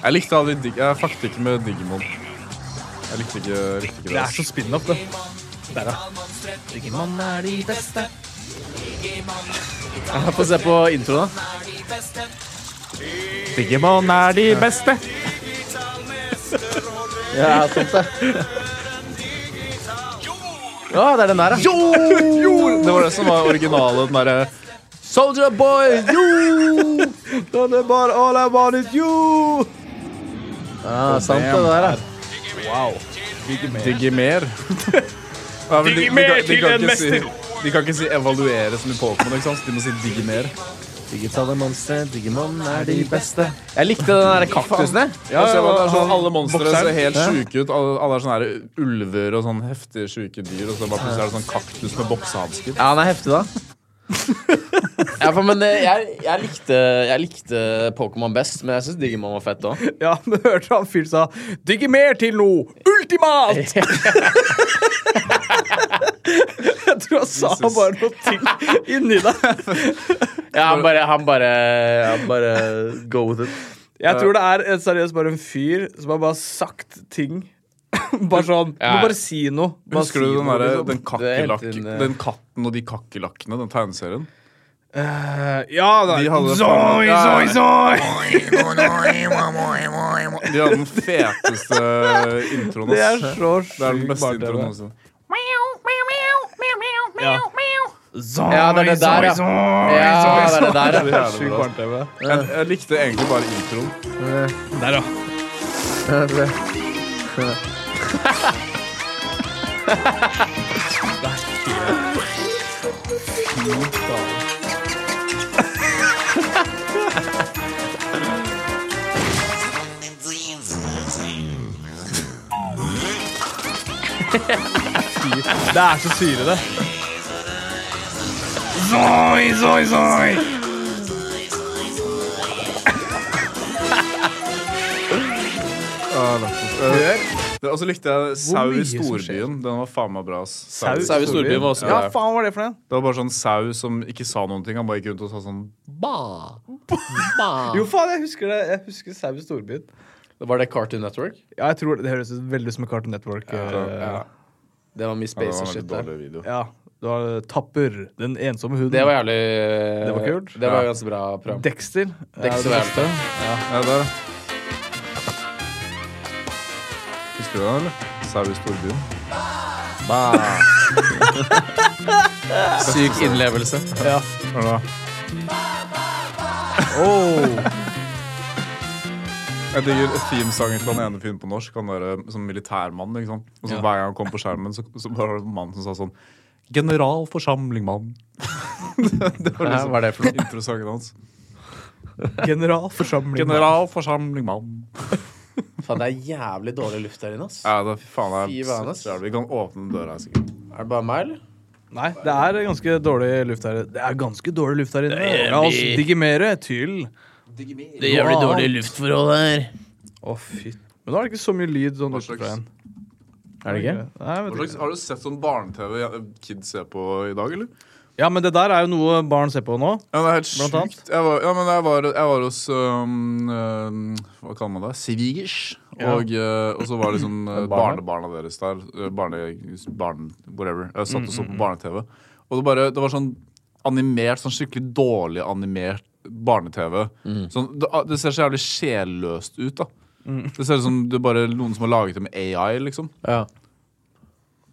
B: Jeg likte aldri Dig Jeg fucket ikke med Digimon. Jeg likte ikke, likte ikke
A: Det er
B: det.
A: så spin-off, det. Der, ja. Digimon er de beste.
C: Få se på introen, da.
B: Digimon er de beste!
C: Ja, sant det. Ja, det er den der, ja.
B: Det var det som var originale, den derre
C: Soldier boy! Jo!
A: Don't about all I want is you!
C: Ja, sant det der, ja.
A: Wow. Digimer.
B: Digimer. Ja, men de- de
A: Digimer
B: kan- de
A: til
B: kan
A: en
B: ikke si-
A: mester.
B: De kan ikke si 'evaluere' som i Pokémon, ikke sant? Så de må si 'digimer'.
C: Digitale monstre, Digimon er de beste. Jeg likte den der kaktusen, jeg.
B: Ja,
A: Altså,
B: ja,
A: han-
B: sånn, alle monstre
A: bokseren.
B: ser helt sjuke ut. Alle, alle er sånne her ulver og sånn heftige, sjuke dyr. Og så bare plutselig er det sånn kaktus med boksehansker.
C: Ja, han er heftig, da. ja, for, men eh, jeg, jeg likte, jeg likte Pokémon best, men jeg syns Digimon var fett òg.
A: Ja, men hørte han fyren sa 'Digimer til noe ultimat'! Jeg tror han sa
B: Jesus.
A: bare noe ting inni deg.
C: Ja, han bare, han bare, han bare go with it.
A: Jeg tror det er eh, seriøst bare en fyr som har bare sagt ting. Bare sånn
C: Ja.
A: Må bare si noe. Bare
B: Husker
A: si
B: du den,
A: noe,
B: derre-
A: liksom.
B: den,
C: er helt
B: kakerlakk-
C: inn, eh.
B: den katten og de kakerlakkene, den tegneserien?
A: Eh, Ja, da.
B: De hadde det
A: Zoi,
B: faen-
A: zoi,
B: Ja.
A: zoi!
B: De hadde den feteste introen.
A: Det er
B: ass.
A: så sjukt.
B: Det er den beste
A: barne-tv.
B: introen noensinne.
A: Ja. Zoi,
C: Ja, det er det der, ja.
A: zoi,
C: Ja, det er det
A: zoi.
C: der,
A: Det er
B: Jævlig
A: sjukt
B: bra.
A: barne-TV.
B: Jeg, jeg likte egentlig bare introen.
A: Der, ja.
C: ja.
A: Det er så syre, det. Zoi, zoi, zoi!
B: Det- Og så likte jeg Sau i
A: mye som
B: storbyen. Den var faen meg bra. ass.
C: Sau i storbyen var også
A: Ja,
C: der.
A: faen var det for en?
B: Det var bare sånn sau som ikke sa noen ting. Han bare gikk rundt og sa sånn
A: Jo, faen, jeg husker det. Jeg husker Sau i storbyen.
C: Var det Cartoon Network?
A: Ja, jeg tror Det høres ut veldig ut som en Cartoon Network. eh,
B: ja.
C: Det var mye
B: Ja, det
C: space
B: var
C: og
B: en
C: shit.
B: veldig
C: der.
B: dårlig video.
A: ja. Du har eh, Tapper, Den ensomme hunden.
C: Det var jævlig
A: Det var kult.
C: Det var
B: Ja.
C: ganske bra program.
A: Dexter.
C: Dexter
A: Ja,
C: var
A: det-
C: jævlig fett.
B: Ja, der. ja. Husker du den, eller? Sau i storbyen.
C: Syk innlevelse.
A: Ja.
B: Hør nå. Jeg digger themesanger til han ene fyren på norsk. Han der eh, sånn militærmann. ikke sant? Og så Hver gang han kom på skjermen, så, så bare var det en mann som sa sånn Generalforsamling, mann. det var liksom-
C: Hæ, hva er det for noe?
B: introsangen hans.
A: Generalforsamling.
B: Generalforsamling, mann.
C: Faen, det er jævlig dårlig luft der inne. ass.
B: Ja, det, fy faen, det
C: Fy
B: er
C: faen, ass.
B: så jævlig. Vi kan åpne den døra her, sikkert.
C: Er det bare meg, eller?
A: Nei, det er ganske dårlig luft her Det er ganske dårlig luft her inne.
C: er
A: La oss
C: vi-
A: digimere til
C: Det
A: er jævlig dårlige
C: luftforhold her.
A: Å, fy. Men nå er det ikke så mye lyd sånn
B: Hva
A: utenfra
B: slags-
A: igjen.
C: Er det ikke?
A: Nei, jeg
B: Hva
A: vet
B: slags,
A: ikke.
B: har du sett sånn barne-TV kids ser på i dag, eller?
A: Ja, men det der er jo noe barn ser på nå.
B: Ja, det er helt
A: Blant
B: sjukt. Jeg var, ja, men jeg var, jeg var hos øhm, øhm, Hva kaller man det? Svigers.
A: Ja.
B: Og, øh, og så var det liksom øh,
C: Barne?
B: barnebarna deres der. øh, Barne... barn, whatever. Jeg satt og
A: Mm,
B: så på barne-TV. Og det, bare, det var sånn animert, sånn skikkelig dårlig animert barne-TV. Sånn, det, det ser så jævlig sjelløst ut, da.
A: Mm.
B: Det ser ut som det er bare noen som har laget det med AI, liksom.
C: Ja.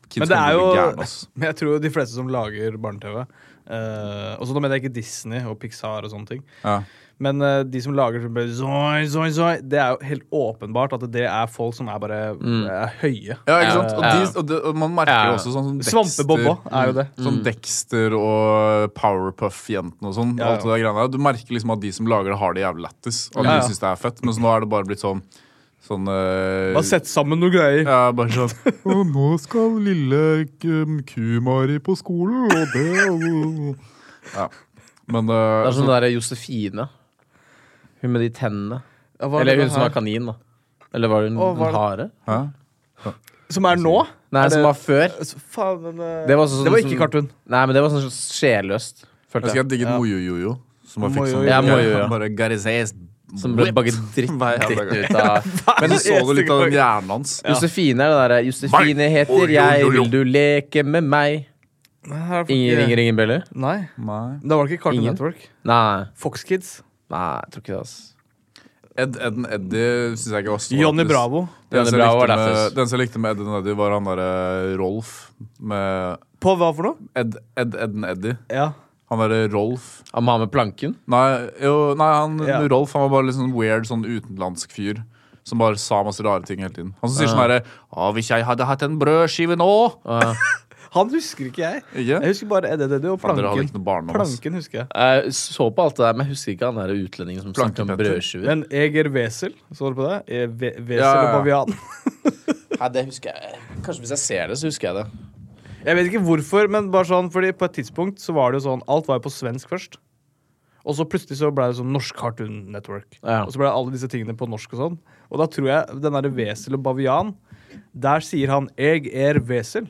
B: Kids
A: Men det
B: kommer
A: er
B: til å bli gærne,
A: jo
B: ass.
A: Men jeg tror de fleste som lager barne-TV eh, Og så nå mener jeg ikke Disney og Pixar og sånne ting.
B: Ja.
A: Men eh, de som lager sånn bare zoi, zoi, zoi, Det er jo helt åpenbart at det er folk som er bare
B: Mm.
A: er høye.
B: Ja, ikke sant? Og,
C: Ja.
B: de, og, det, og man merker
C: Ja. Mm.
B: også sånn som
A: Svampebobba er jo det.
B: Sånn Dexter og Powerpuff-jentene og sånn.
A: Ja, ja.
B: Alt det der greiene der. Du merker liksom at de som lager det, har det jævlig lættis. Og
A: Ja, ja.
B: de syns det er fett. Men så nå er det bare blitt sånn sånn eh,
A: Bare sett sammen noe greier.
B: ja, bare sånn Og nå skal lille um, Kumari på skolen, og det og... Ja. Men
C: Det
B: eh,
C: er sånn der Josefine. Hun med de tennene.
A: Ja, hva er det
C: Eller hun som
A: her?
C: var kanin, da. Eller var hun
A: Å, hva er
C: en
A: det-
C: hare?
B: hæ?
A: Som er nå?
C: Nei,
A: Er det-
C: som var før.
A: Altså, faen, men, eh,
C: Det var, sånn,
A: det var ikke
C: som-
A: cartoon.
C: Nei, men det var sånn sjelløst.
B: Jeg
C: Følte
B: husker
C: jeg.
B: jeg digget
A: Ja.
B: Mojojojo Som bare fikk
A: Mojo,
B: sånn
C: ja, Mojo, ja.
B: Bare Garizes
C: Som ble bagget dritt,
B: Hver jævla
C: dritt
B: gang.
C: ut av
B: Men så du litt av den hjernen hans?
C: Josefine er det derre Josefine heter jeg, vil du leke med meg?
A: Nei, her er folk
C: Ingen
A: ikke-
C: ringer ingen bjeller?
A: Nei.
B: Nei.
A: Da var det ikke Cartoon
C: Ingen?
A: Network.
C: Nei.
A: Fox Kids.
C: Nei, jeg tror ikke det, ass.
B: Ed, Ed, Eddie syns jeg ikke var så
A: Johnny Bravo.
B: Den
C: Johnny
B: som,
C: Bravo
B: jeg likte
C: var
B: med,
C: lættis.
B: den som jeg likte med Ed and Eddie, var han derre Rolf med
A: På hva for noe?
B: Ed, Ed, Ed and Eddie.
A: Ja.
B: Han derre Rolf
C: Han må ha med planken.
B: Nei, jo, nei han,
A: Ja.
B: Rolf han var bare litt sånn weird sånn utenlandsk fyr. Som bare sa masse rare ting hele tiden. Han som sier sånn herre Å, hvis jeg hadde hatt en brødskive nå
C: Og,
A: Han husker ikke jeg.
B: Ikke?
A: Jeg husker bare Eddie Deddy og
B: Faen, dere hadde
A: Planken.
B: ikke noe barndom, ass.
A: Planken husker jeg.
C: jeg så på alt det der, men jeg husker ikke han der utlendingen som snakket om
B: Plankepetter.
C: brødskiver.
A: Men Eger Wesel, så du på det? E Ve- Wesel
B: Ja, ja, ja.
A: og Bavian.
C: Nei, det husker jeg Kanskje hvis jeg ser det, så husker jeg det.
A: Jeg vet ikke hvorfor, men bare sånn, fordi på et tidspunkt så var det jo sånn Alt var jo på svensk først. Og så plutselig så ble det sånn norsk Cartoon Network.
C: Ja.
A: Og så ble alle disse tingene på norsk og sånn. Og da tror jeg den derre Wesel og Bavian, der sier han 'Eg er Wesel'.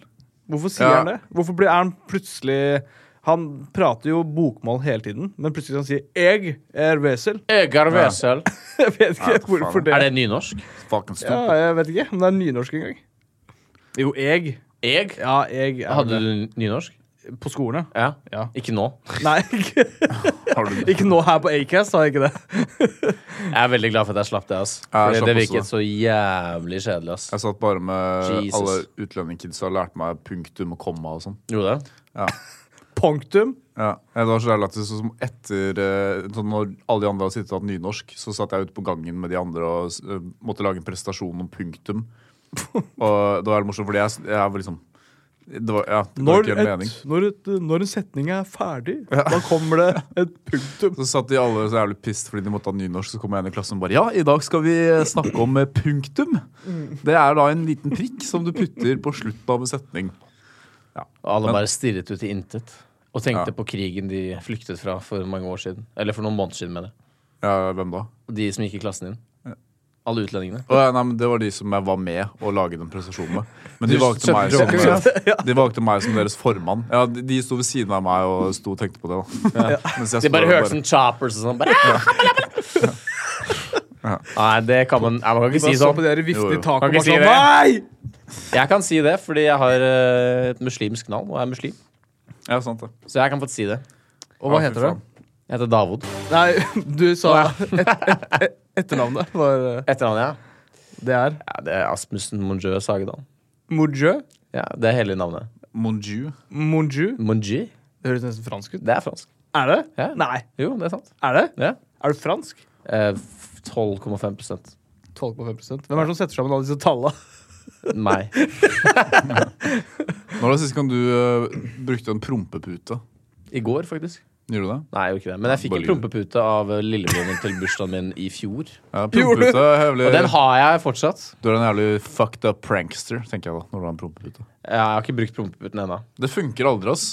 A: Hvorfor sier
B: Ja.
A: han det? Hvorfor blir er han plutselig Han prater jo bokmål hele tiden, men plutselig kan han si 'Eg er Wesel'.
C: Øgar Wesel.
A: Jeg vet ikke
B: Ja, for faen,
A: hvorfor det.
C: Er det nynorsk?
B: Fucking
A: Ja,
B: stupid.
A: jeg vet ikke om det er nynorsk engang. Jo, jeg.
C: Jeg?
A: Ja, jeg er
C: Hadde
A: det.
C: du nynorsk?
A: På skolen, ja.
C: Ja.
A: ja.
C: Ikke nå.
A: Nei, ikke,
B: Har du det?
A: ikke nå her på Acast, har jeg ikke det.
C: Jeg er veldig glad for at jeg slapp det, ass.
B: Ja, jeg
C: Fordi
B: slapp også
C: det virket så jævlig kjedelig, ass.
B: Jeg satt bare med
C: Jesus.
B: alle utlendingkidsa og lærte meg punktum og komma og sånn.
C: Gjorde det?
A: Punktum.
B: Ja. Det var så jævlig lættis. Sånn som etter eh, sånn Når alle de andre hadde sittet og hatt nynorsk, så satt jeg ute på gangen med de andre og eh, måtte lage en prestasjon om punktum. Og det var jævlig morsomt, fordi jeg, jeg var liksom det var, ja, det var
A: Når,
B: ikke helt mening.
A: et, når, et, når en setning er ferdig, da kommer det et punktum.
B: Så satt de alle så jævlig pissed fordi de måtte ha nynorsk. Så kom jeg inn i klassen og bare Ja, i dag skal vi snakke om eh, punktum.
A: Mm.
B: Det er da en liten prikk som du putter på slutten av en setning.
C: Og alle
B: Men-
C: bare stirret ut i intet. Og tenkte
B: Ja.
C: på krigen de flyktet fra for mange år siden. Eller for noen måneder siden, mener jeg.
B: Ja, hvem da?
C: De som gikk i klassen din. Alle utlendingene.
B: Å, ja, nei, men det var de som jeg var med og laget den prestasjonen med. Men de
C: Du
B: valgte meg som,
C: skjønte ikke,
B: eh, de valgte meg som deres formann. Ja, De de sto ved siden av meg og sto og tenkte på det. da Mens jeg
C: De
B: sto der
C: bare
B: og
C: hørte sånn choppers og sånn. Bare, Nei, det kan man Nei, Man kan ikke si
A: Bare så på
C: sånn.
A: dere vifte
B: Jo,
A: i
B: jo.
A: taket
C: Kan
A: og
C: ikke
A: bare sånn
C: si det.
A: Nei!
C: Jeg kan si det fordi jeg har eh, et muslimsk navn og er muslim.
B: Ja, sant det.
C: Så jeg kan få si det.
A: Og hva
B: Ja, fy
A: heter det?
B: faen.
C: Jeg heter Davod.
A: Nei, du sa et, et, et, etternavnet. Var, eh,
C: Etternavnet, ja.
A: det er
C: ja. Det er Asmussen Monjø Sagedal.
A: Monjø.
C: Ja, det er hele navnet.
B: Monju.
A: Monjø.
C: Monjø?
A: Det høres nesten fransk ut.
C: Det er fransk.
A: Er det?
C: Ja.
A: Nei.
C: Jo, det er sant.
A: Er det?
C: Ja.
A: Er du fransk?
C: Eh, f- 12,5
A: 12,5 Hvem er det som setter sammen alle disse tallene?
C: Nei.
B: Når var det sist gang du eh, brukte en prompepute?
C: I går, faktisk.
B: Gjorde du det?
C: Nei, jeg gjorde ikke det. Men jeg fikk
B: Bare
C: en
B: lyver.
C: prompepute av eh, lillebroren min til bursdagen min i fjor.
B: Ja,
A: Gjorde du?
B: prompepute er jævlig,
C: Og den har jeg fortsatt.
B: Du er en jævlig fucked up prankster, tenker jeg da. når du har en prompepute.
C: Jeg har ikke brukt prompeputen ennå.
B: Det funker aldri, ass.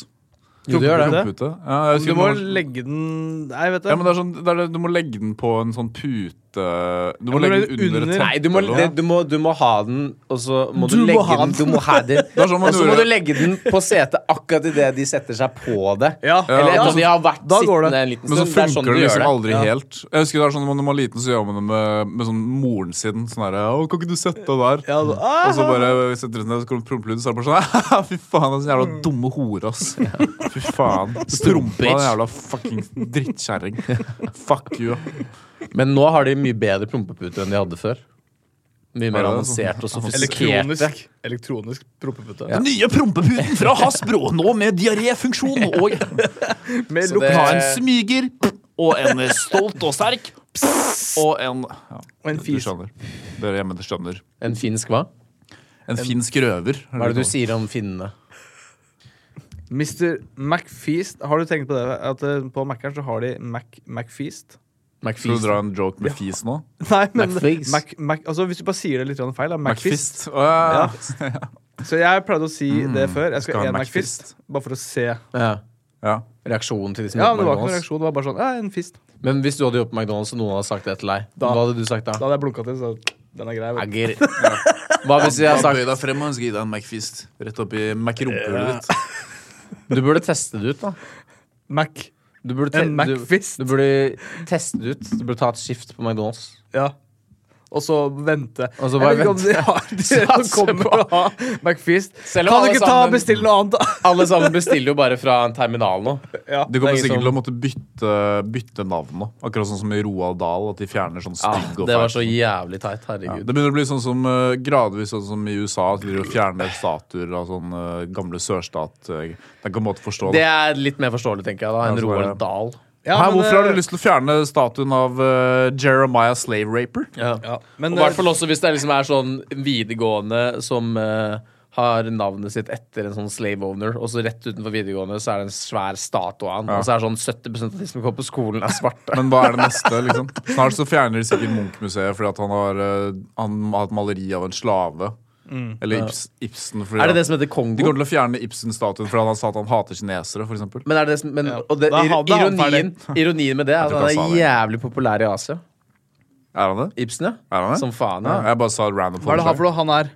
C: Jo, det gjør det.
B: Prompepute. Ja, jeg
A: Du
B: husker
A: må
B: når-
A: legge den Nei, vet du.
B: ja, men det er sånn, det er, det- du må legge den på en sånn pute Du må
A: men
B: legge
A: det er
B: den under et
A: under-
B: teppe.
C: Nei, du må,
B: eller noe.
C: det, du, må, du må ha den, og så må du,
A: Du må
C: legge
A: ha
C: den. Du må ha den.
B: er sånn man
C: og så må
B: gjorde.
C: du legge den på setet akkurat idet de setter seg på det.
A: Ja.
C: Eller
A: Ja.
C: etter at de har vært
A: Da går det.
C: sittende en liten
B: Men
C: stund.
B: så
C: Det er
B: funker
C: sånn
B: det
C: du
B: liksom
C: gjør det.
B: aldri helt. Jeg husker det er sånn, Når man var liten, så gjør man det med, med sånn moren sin. Sånn her, Å, 'Kan ikke du sette deg der?'
A: Ja, da-
B: Og så bare setter hun seg ned, så kommer prompelyd, så er det bare sånn Fy faen, den jævla dumme hore, ass. Fy faen. Strumpa, den jævla fucking drittkjerring. Fuck you.
C: Men nå har de mye bedre prompepute enn de hadde før.
B: Ja,
C: Mye mer
B: det er sånn.
C: avansert og sofistikerte.
A: altså? Elektronisk, elektronisk prompepute.
C: Ja.
B: Nye prompeputen fra Hasbro, nå med diaréfunksjon og
A: Med
C: Så det-
A: lokal
B: ha en smyger og en stolt og sterk og en ja,
A: og en
B: Du
A: fis.
B: skjønner. Dere hjemme, dere skjønner.
C: En finsk hva?
B: En finsk røver.
C: Hva er det du sier om finnene?
A: Mr. McFeast. Har du tenkt på det? At eh, på Mac-eren så har de Mac, McFeast?
B: Skal du
C: McFeast.
B: dra en joke med fis nå?
A: Nei, men
C: McFeast.
A: Mac, Mac, altså, Hvis du bare sier det litt grann feil, da. McFist.
B: Å, ja.
A: Så jeg pleide å si
C: Mm,
A: det før. Jeg skal
B: skal ha
A: ha
B: en
A: en McFist, bare for å se.
C: Ja.
B: Ja.
C: Reaksjonen til de som
A: Ja, men
C: jobber
A: Det var ikke
C: på
A: noen
C: McDonald's.
A: reaksjon. Det var bare sånn Ja, en fist.
C: Men hvis du hadde jobbet på McDonald's og noen hadde sagt det til deg,
A: Da-
C: hva hadde du sagt da?
A: Da hadde jeg blunka til, så den er grei.
C: I
A: vet du.
C: get it. Hva hvis jeg hadde sagt
B: deg frem og gi deg en McFist rett opp i McRompehullet ditt.
C: Du burde teste det ut, da.
A: Mac.
C: Du burde, te
A: En
C: du,
A: Macfist.
C: du burde teste det ut. Du burde ta et skift på McDonald's.
A: Ja. Og så vente.
C: Og så bare
A: jeg vet ikke om de har de
C: Satse
A: som kommer
C: på.
A: til å ha McFeast.
C: Selv
A: kan
C: om
A: du
C: alle
A: ikke ta
C: sammen-
A: og bestille noe annet, da?
C: Alle sammen bestiller jo bare fra en terminal nå.
A: Ja.
B: Du kommer
C: Det
B: sikkert
C: er liksom-
B: til å måtte bytte, bytte navn nå. Akkurat sånn som i Roald Dahl, at de fjerner sånn
C: Ja,
B: stygg og
C: det var
B: fælt.
C: så jævlig teit.
B: Ja,
C: Herregud.
B: det begynner å bli sånn som eh, gradvis sånn som i USA, at de driver og fjerner statuer av sånne eh, gamle sørstat. eh, Det er ikke en måte å forstå
C: Det
B: det.
C: er litt mer forståelig, tenker jeg, da enn
B: Ja, så var
C: Roald
B: det-
C: Dahl.
A: Ja,
B: Hæ,
A: men,
B: hvorfor har
A: eh,
B: du lyst til å fjerne statuen av eh, Jeremiah Slave Raper?
A: Ja, men, eh,
C: Og i hvert fall også hvis det liksom er sånn videregående som eh, har navnet sitt etter en sånn slave owner, og så rett utenfor videregående så er det en svær statue av han, og så er det sånn 70 av de som går på skolen, er svarte.
B: Men hva er det neste? liksom? Snart så fjerner de sikkert Munch-museet fordi at han har, eh, han har et maleri av en slave.
A: Mm.
B: Eller Ibs, Ibsen. Fordi
C: Er det det
B: at-
C: som heter
B: de
C: Kongo?
B: kommer til å fjerne Ibsen-statuen fordi han har sagt at han hater kinesere. For eksempel.
C: Men er det det som, men,
A: Ja.
C: og det,
A: Da er han- da er han
C: ironien, ironien med det er at
B: tror
C: han
B: ikke han sa
C: er
B: det.
C: jævlig populær i Asia.
B: er han det?
C: Ibsen,
B: Er han
C: ja.
B: det?
C: Som faen,
B: Ja,
C: ja.
B: jeg bare sa et random
A: hva er det
B: forslag.
A: her for noe han er?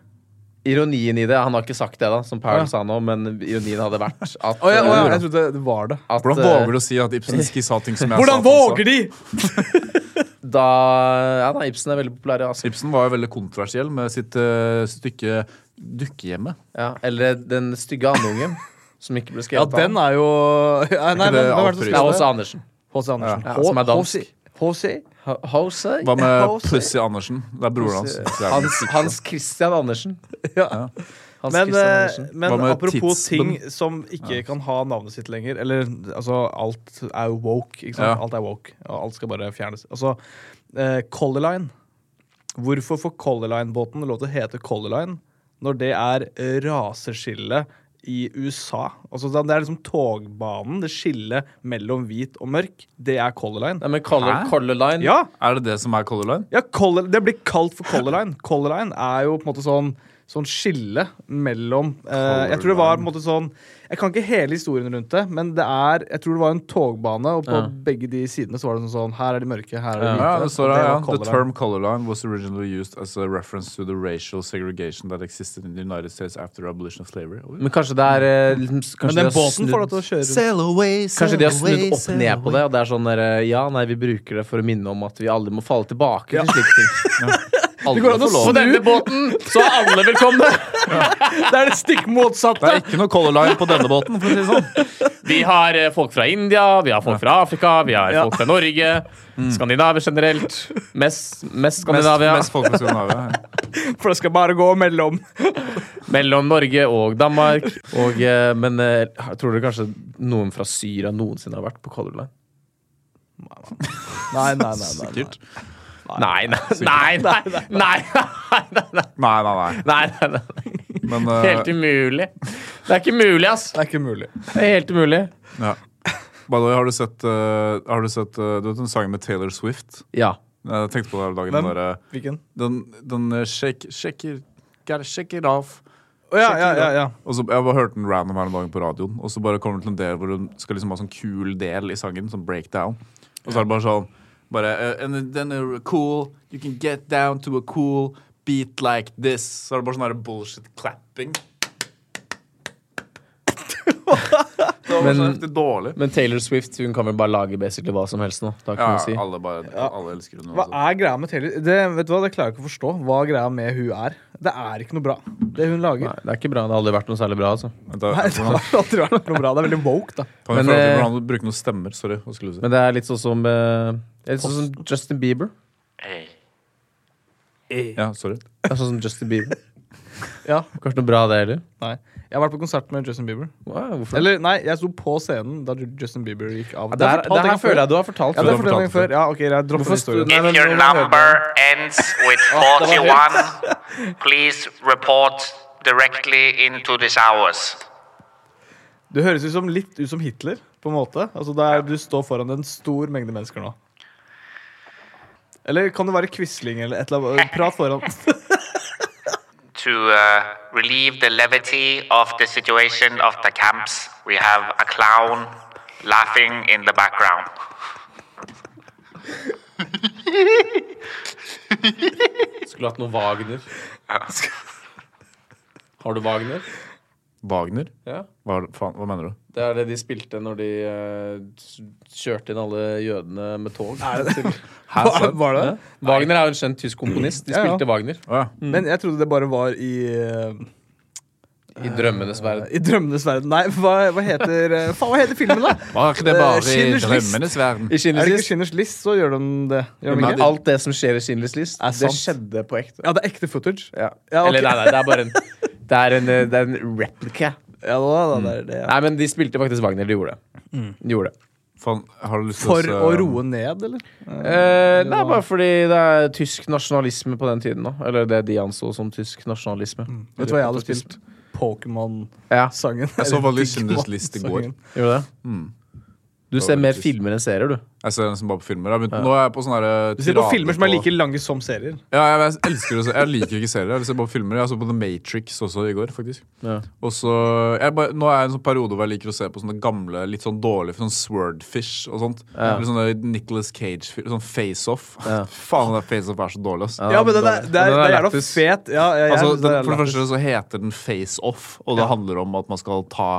C: Ironien i det Han har ikke sagt det, da, som Paul
A: Ja.
C: sa nå, men ironien hadde vært at,
A: Å ja, å, ja,
C: eh,
A: jeg trodde det var det.
C: at
B: Hvordan
C: eh,
B: våger du å si at Ibsen ikke sa ting som jeg
A: Hvordan
B: sa? at han sa?
A: våger de?!
C: Da Ja, eh, da, Ibsen er veldig populær i Asia.
B: Ibsen var jo veldig kontroversiell med sitt eh, stykke 'Dukkehjemmet'.
C: Ja, eller Den stygge andungen, som ikke ble
A: Ja,
C: skrevet
A: den er jo ja, Nei,
B: ikke
A: men
B: det
A: hvem er det som
B: Alfrud?
C: Det er
A: skrev
C: også
A: det?
C: Andersen.
A: H.C. Andersen.
C: Ja, som er dansk.
A: H.C.
C: Jose?
B: Hva med
A: Hose.
B: Pussy Andersen? Det er broren hans. Det er vel-
C: eh, Hans, Hans Christian Andersen.
A: Ja.
C: Hans
A: Men,
C: Christian
A: eh,
C: Andersen.
B: Hva
A: men
B: med
A: apropos
B: tidsbom?
A: ting som ikke kan ha navnet sitt lenger Eller altså, alt er jo woke, ikke sant?
B: Ja.
A: Alt er woke, og alt skal bare fjernes. Altså, eh, Color Line. Hvorfor får Color Line-båten lov til å hete Color Line når det er raseskille i USA? Altså, det er liksom togbanen, det skillet mellom hvit og mørk, det er Color Line.
C: Nei, men Color,
B: Hæ?
C: Color Line
A: Ja!
B: Er det det som er Color Line?
A: Ja, Color, det blir kalt for Color Line. Color Line er jo på en måte sånn, sånn skille mellom eh, Jeg tror det var på en måte sånn Jeg kan ikke hele historien rundt det, men det er, jeg tror det var en togbane, og på
C: Ja.
A: begge de sidene så var det sånn sånn Her er de mørke, her er de
C: Ja,
A: hvite.
B: Ja, det står
A: og
B: her,
A: var
B: ja.
A: Color
B: The
A: Line.
B: term color line was originally used as a reference to the racial segregation that existed in the United States after abolition of slavery.
C: Men kanskje det er eh, liksom- kanskje
A: Men
C: de
A: den
C: har
A: båten får
C: snudd-
A: deg til å kjøre rundt.
B: Sail away,
C: Kanskje de har snudd opp ned på det, og det er sånn der, eh, Ja, nei, vi bruker det for å minne om at vi alle må falle tilbake til slike ting. Alle
A: går an
C: må
A: å
C: få lov.
A: snu-
C: På denne båten så er alle velkomne!
A: Det er det stikk
B: Det
A: motsatte!
B: er ikke noe color line på denne båten, for å si det sånn.
C: Vi har eh, folk fra India, vi har folk fra Afrika, vi har folk fra Norge. Skandinavia generelt. Mm. Mest, mest Skandinavia.
B: Mest folk på Skandinavia. ja.
A: For det skal bare gå mellom
C: Mellom Norge og Danmark. Og, eh, men eh, tror dere kanskje noen fra Syria noensinne har vært på Color Line?
A: Nei, nei, nei. nei, nei.
B: Sikkert.
C: Nei, nei, nei! Nei, nei, nei, nei, nei,
B: Nei, nei, nei.
C: nei, nei, nei.
B: Men eh,
C: Helt umulig. Det er ikke mulig, ass.
A: Det er ikke mulig.
C: Det er helt umulig.
B: ja. By the way, har du sett, eh, har du, sett eh, du vet den sangen med Taylor Swift?
C: Ja.
B: Jeg tenkte på det her om dagen.
A: Hvem?
B: Den, derre-
A: Hvilken?
B: den, den eh, shake, shake, it, gotta shake it off.
A: Å ja, ja, ja, ja.
B: Og så, jeg bare hørte den random her om dagen på radioen, og så bare kommer det til en del hvor hun skal liksom ha sånn kul del i sangen, sånn breakdown. Og så er det bare sånn bare, eh, And then a cool You can get down to a cool beat like this. Så er det bare sånn her bullshit clapping. det var bare så
C: Men-
B: heftig dårlig.
C: Men Taylor Swift hun kan vel bare lage basically hva som helst nå.
B: Ja,
C: Da kan du si.
B: alle bare Alle elsker henne.
A: Hva
B: altså.
A: er greia med Taylor? Det, vet du hva, det klarer jeg ikke å forstå. Hva greia med hun er. Det er ikke noe bra, det hun lager.
C: Nei, det er ikke bra. Det har aldri vært noe særlig bra, altså.
B: Vent da,
A: Nei, det
B: hvordan-
A: har aldri vært noe bra. Det er veldig woke, da.
B: Kan vi
C: Men,
B: få lov til
C: eh,
B: hvordan du bruker noen stemmer? Sorry. Hva skulle du si?
C: Men det er litt sånn som, eh, det er litt sånn som Justin Bieber.
B: Ja, sorry.
C: Det er sånn som Justin Bieber.
A: Ja,
C: Kanskje noe bra, det heller.
A: nei. Jeg har vært på konsert med Justin Bieber.
C: Wow, hvorfor?
A: Eller nei, jeg sto på scenen da Ju- Justin Bieber gikk av.
C: det, her, det her føler jeg du har fortalt.
A: Ja, det
B: du
A: har
B: har
A: fortalt meg
B: fortalt
A: før. Ja, ok, jeg dropper
C: Hvorfor sto-
A: historien.
C: Nei, men
D: If your
C: nå må jeg høre på.
D: number ends with 41, please report directly into these hours.
A: Du høres ut som litt ut som Hitler, på en måte. Altså, det er, Du står foran en stor mengde mennesker nå. Eller kan det være Quisling eller et eller annet? Prat foran.
D: To uh, relieve the levity of the situation of the camps, we have a clown laughing in the background.
C: Skulle hatt noe Wagner. Har du Wagner?
B: Wagner?
C: Ja.
B: Hva, faen, hva mener du?
C: Det er det de spilte når de eh, s- kjørte inn alle jødene med tog.
B: Hæ,
A: Hva,
B: sant?
A: var det?
C: Wagner er jo en kjent tysk komponist. De
A: Ja, ja.
C: spilte Wagner
B: Å ja.
A: Men jeg trodde det bare var i eh,
C: i drømmenes verden.
A: I drømmenes verden. Nei, hva, hva heter eh, Faen, hva heter filmen, da?
B: Var ikke det
A: Eh,
B: bare i
A: Schindlers List.
B: drømmenes verden?
A: Er det
C: I
A: ikke
C: Schindlers List.
A: Schindlers List, så gjør de det. Gjør de
B: Nei,
A: ikke?
B: det-
C: Alt det som skjer i Schindlers List,
A: Er
C: det
A: sant.
C: skjedde på ekte.
A: Ja, det er ekte footage.
C: Ja.
A: Ja, ok.
C: Eller nei, nei, det er bare en Det er en, eh, det er en replika.
A: Ja, da, da, det er det, ja.
C: Nei, men de spilte faktisk Wagner. De gjorde det. De gjorde det.
B: Faen, har du lyst til
A: For
B: se-
A: å roe ned, eller?
C: Eh, det er bare fordi det er tysk nasjonalisme på den tiden. Da. Eller det de anså som tysk nasjonalisme.
A: Vet du hva jeg hadde spilt? Pokémon-sangen.
C: Ja,
B: Jeg så
A: Eller
B: veldig Schindlers List i går.
A: Digimon-sangen.
C: gjorde det? Du
B: Det var
C: ser mer
B: veldig trist.
C: filmer enn serier, du.
B: Jeg ser den som bare på filmer. Jeg har begynt- Nå er jeg på sånne her, eh,
A: Du ser på
B: tirader
A: filmer som er like lange som serier.
B: Ja, jeg, jeg elsker å se Jeg liker ikke serier. Jeg ser bare filmer. Jeg så på The Matrix også i går, faktisk.
C: Ja.
B: Og så jeg bare, Nå er jeg i en sånn periode hvor jeg liker å se på sånne gamle, litt sånn dårlige sånn Swordfish og sånt. Eller sånne Nicholas Cage Sånn Face-Off. Faen, det Face-Off er så dårlig, ass.
A: Ja, men den er, det er,
C: den
A: det
C: er
A: er jævla
C: lættis.
A: fet. Ja, ja, ja,
B: Altså,
A: det
B: den,
A: er
B: for det
A: lættis.
B: første så heter den Face-Off, og det handler om at man skal ta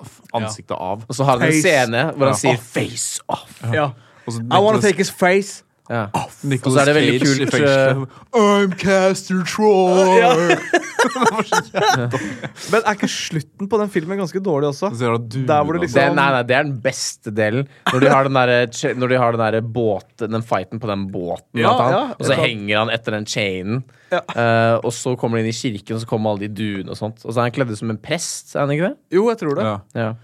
B: f- ansiktet av.
C: Og så har han en
A: Face.
C: scene
B: Ja.
C: hvor han sier
B: Off.
C: face off.
A: ja.
B: Og så
A: I wanna
B: Nicolas-
A: take his face.
C: Ja.
B: Nicolas
C: Og så er det veldig
B: Cage i
C: kult,
B: fengsel. eh, I'm Caster Troy!
A: Men er ikke slutten på den filmen ganske dårlig også?
B: Så er det du,
A: Der hvor det liksom-
C: Det, nei, nei, det er den beste delen. Når de har den der, når de har den der båten, den fighten på den båten,
A: Ja,
C: blant annet.
A: ja,
C: og så
A: ja.
C: henger han etter den chainen.
A: Ja.
C: Eh, og så kommer de inn i kirken, og så kommer alle de duene og sånt. Og så er han kledd ut som en prest, er han ikke det?
A: Jo, jeg tror det.
B: Ja.
C: Ja.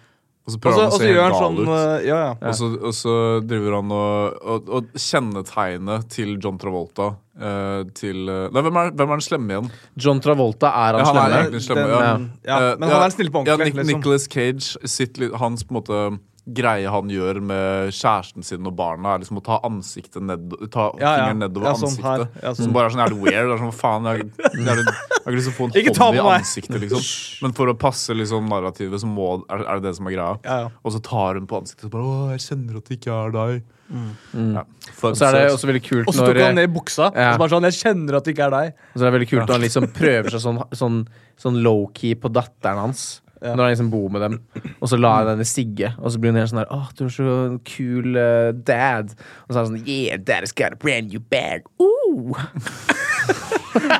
B: Og så
A: Og
B: prøver
A: så
B: han å
A: og så
B: se
A: gjør han
B: helt gal
A: sånn
B: ut.
A: eh, Ja, ja.
B: Og, så, og så driver han og, og, og kjennetegnet til John Travolta eh, til eh, Nei, hvem er, hvem er den slemme igjen?
C: John Travolta er han
B: Ja, han er
C: slemme.
B: egentlig den slemme. ja.
A: Den- ja,
B: Eh,
A: men han er den snille på ordentlig,
B: Ja, Nic
A: liksom.
B: Nicolas Cage, sitt, li- hans på en måte greie han gjør med kjæresten sin og barna, er liksom å ta ansiktet ned, ta
A: Ja, ja.
B: fingeren nedover
A: Ja, sånn
B: ansiktet.
A: her. Ja, sånn.
B: Som bare er sånn er det weird. Det er sånn, faen, jeg, jeg, har- jeg har ikke lyst til å få
A: Ikke
B: en
A: ta
B: hånd i
A: på meg.
B: ansiktet, liksom. Men for å passe liksom, narrativet, så må, er, er det det som er greia.
A: Ja, ja.
B: Og så tar hun på ansiktet og bare Å, jeg kjenner at det ikke er deg.
A: Mm.
B: Ja.
C: Mm. Og så er det også veldig kult
A: Og så
C: når, eh,
A: tok han ned buksa. Og
C: Ja.
A: så bare sånn, Jeg kjenner at det ikke er deg.
C: og så er det veldig kult når han liksom prøver seg sånn, sånn, sånn low-key på datteren hans. Når han liksom bor med dem, og så lar han henne sigge. Og så blir hun helt sånn der Åh, du er så kul eh, dad. Og så er han sånn Yeah, dad's got a brand new bag. Ooh.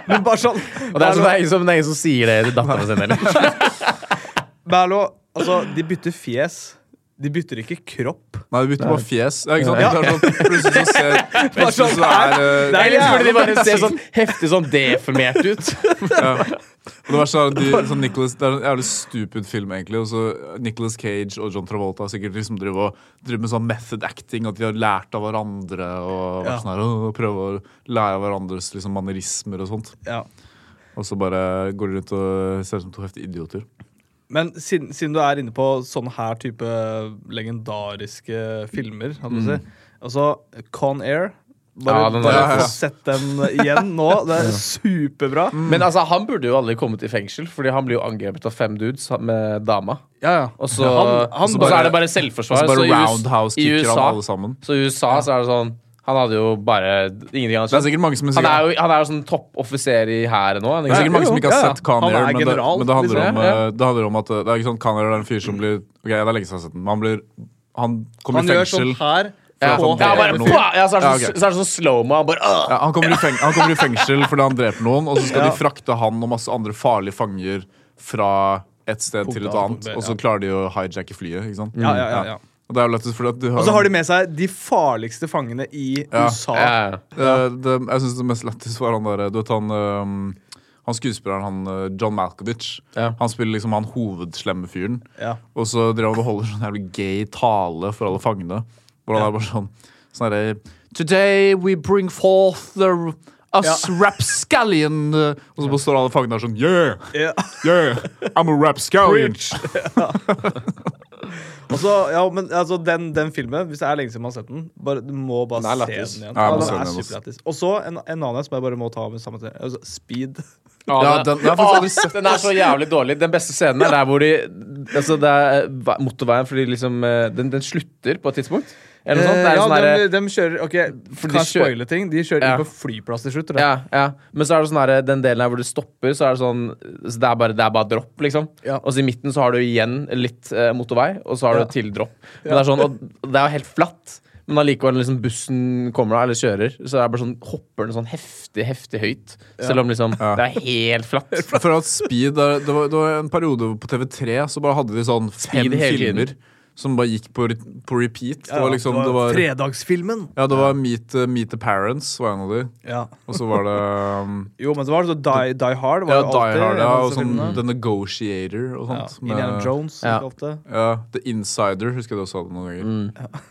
A: Men bare sånn
C: Og det er, sånn, det, er ingen som, det er ingen som sier det til datteren sin heller.
A: Men hallo, altså, de bytter fjes. De bytter ikke kropp.
B: Nei, du bytter bare fjes. Ja, ikke sant?
A: Ja.
B: Det er sånn, plutselig så ser plutselig
A: sånn
B: så er, eh,
A: Det er
C: Ellers burde de bare se
A: jævlig
C: sånn heftig sånn defamert ut.
B: Og det verste er at de, sånn Nicolas, Det er en jævlig stupid film, egentlig. Og så Nicolas Cage og John Travolta har sikkert liksom driver, og, driver med sånn method acting. At de har lært av hverandre og vært
A: Ja.
B: sånn her, «Åh, prøver å lære av hverandres liksom, manerismer og sånt.
A: Ja.
B: Og så bare går de rundt og ser ut som to heftige idioter.
A: Men siden, siden du er inne på sånne her type legendariske filmer, hadde du si Altså Con Air. Bare,
C: Ja, den
A: bare
B: Mm. der-
A: få sett den igjen nå. Det er superbra.
B: Mm.
C: Men altså, han burde jo aldri kommet i fengsel, Fordi han blir jo angrepet av fem dudes med dama.
A: Ja, ja.
C: Og så,
A: han,
C: og
A: han
C: så
A: bare,
C: er det bare
B: Og
C: selvforsvar.
B: så bare
C: i US- i
B: roundhouse-kicker han alle sammen.
C: Så i USA så er det sånn Han hadde jo bare ingenting annet.
B: Det er sikkert mange som er
C: han
B: sikkert,
C: er jo, han er jo sånn toppoffiser i hæren nå.
B: Det er sikkert mange som ikke
A: Ja,
B: har
A: ja.
B: sett Con
A: Han
B: Air,
A: er
B: men, det,
A: general,
B: men det, handler
C: liksom.
B: om,
C: Ja, ja.
B: eh, det handler om at eh, det er ikke sånn, Con Air er en fyr som blir Ok, det er lenge siden jeg har sett den, men han blir Han kommer
A: han
B: i
A: gjør
B: fengsel.
A: sånn her.
C: ja,
A: på
B: han
C: ja,
B: dreper
A: hele
C: bare,
B: noen.
C: pah! ja, så er det
B: Ja,
C: sånn,
B: ok.
C: så er det sånn slow-mo. Han bare øh.
B: Ja, han, kommer i feng han kommer i fengsel fordi han dreper noen, og så skal de frakte han og masse andre farlige fanger fra et sted
A: A
B: til et
A: til
B: annet,
A: punkt B,
B: og så
A: ja.
B: klaret de å hijacke flyet. ikke sant?
A: Ja, ja, ja, ja.
B: Og det er jo lettest fordi at du
A: Og så har de med seg de farligste fangene i
B: Ja.
A: USA.
C: Ja, ja.
B: Eh, det, Jeg syns det mest lettest var han derre Du vet han ehm, han skuespilleren han eh, John Malkovich.
C: Ja.
B: Han spiller liksom han hovedslemme fyren.
A: Ja.
B: Og så driver han og holder sånn jævlig gay tale for alle fangene. Hvor han er bare sånn sånn herre Today we bring forth the r- us rapscallion eh, Og så bare står alle fangene der sånn Yeah!
A: Ja.
B: Yeah! I'm a rapscallion!
A: Og så- ja, men altså, den, den filmen, hvis det er lenge siden man har sett den, bare, du må bare
C: Den er
A: se
C: lættis.
A: den igjen.
B: Ja, jeg må
A: den er
B: se den igjen altså. også.
A: superlættis. Og så en, en annen som jeg bare må ta med samme til. Altså, speed.
B: Ja, den- den har jeg faktisk aldri sett.
C: Den er så jævlig dårlig. Den beste scenen er der hvor de Altså, det er eh, motorveien fordi liksom eh, Den, den slutter på et tidspunkt. Eller noe sånt. Det er
A: ja,
C: sånn
A: de,
C: derre-
A: de kjører Ok,
C: For de
A: kan jeg
C: kjører-
A: spoile ting. De kjører
C: Ja.
A: inn på flyplass til slutt. tror jeg.
C: Ja, ja. Men så er det sånn her, den delen her hvor du stopper, så er det sånn så det, er bare, det er bare dropp, liksom.
A: Ja.
C: Og så i midten så har du igjen litt eh, motorvei, og så har
A: Ja.
C: du til dropp. Men det er sånn, og det er jo helt flatt. Men allikevel, liksom bussen kommer da, eller kjører, så er det bare sånn, hopper den sånn heftig, heftig høyt. Selv om liksom Det er helt flatt.
B: Jeg føler at Speed er, det, var, det var en periode på TV3 så bare hadde de sånn fem
C: Speed hele tiden.
B: filmer som bare gikk på, re- på repeat. Det var liksom, det var,
A: Fredagsfilmen.
B: ja, det var meet, eh, meet the Parents var en av de.
A: Ja.
B: Og så var det um,
A: Jo, men så var det så Die, die Hard. Var
B: ja,
A: jo
B: Die
A: alltid
B: Hard
A: en
B: ja,
A: av
B: og
A: disse
B: sånn
A: filmene.
B: The Negotiator og
A: ja.
B: sånt. med-
A: Indiana Jones.
C: Ja.
A: gikk ofte.
B: Ja, The Insider husker jeg du også hadde noen
C: Mm.
B: ganger.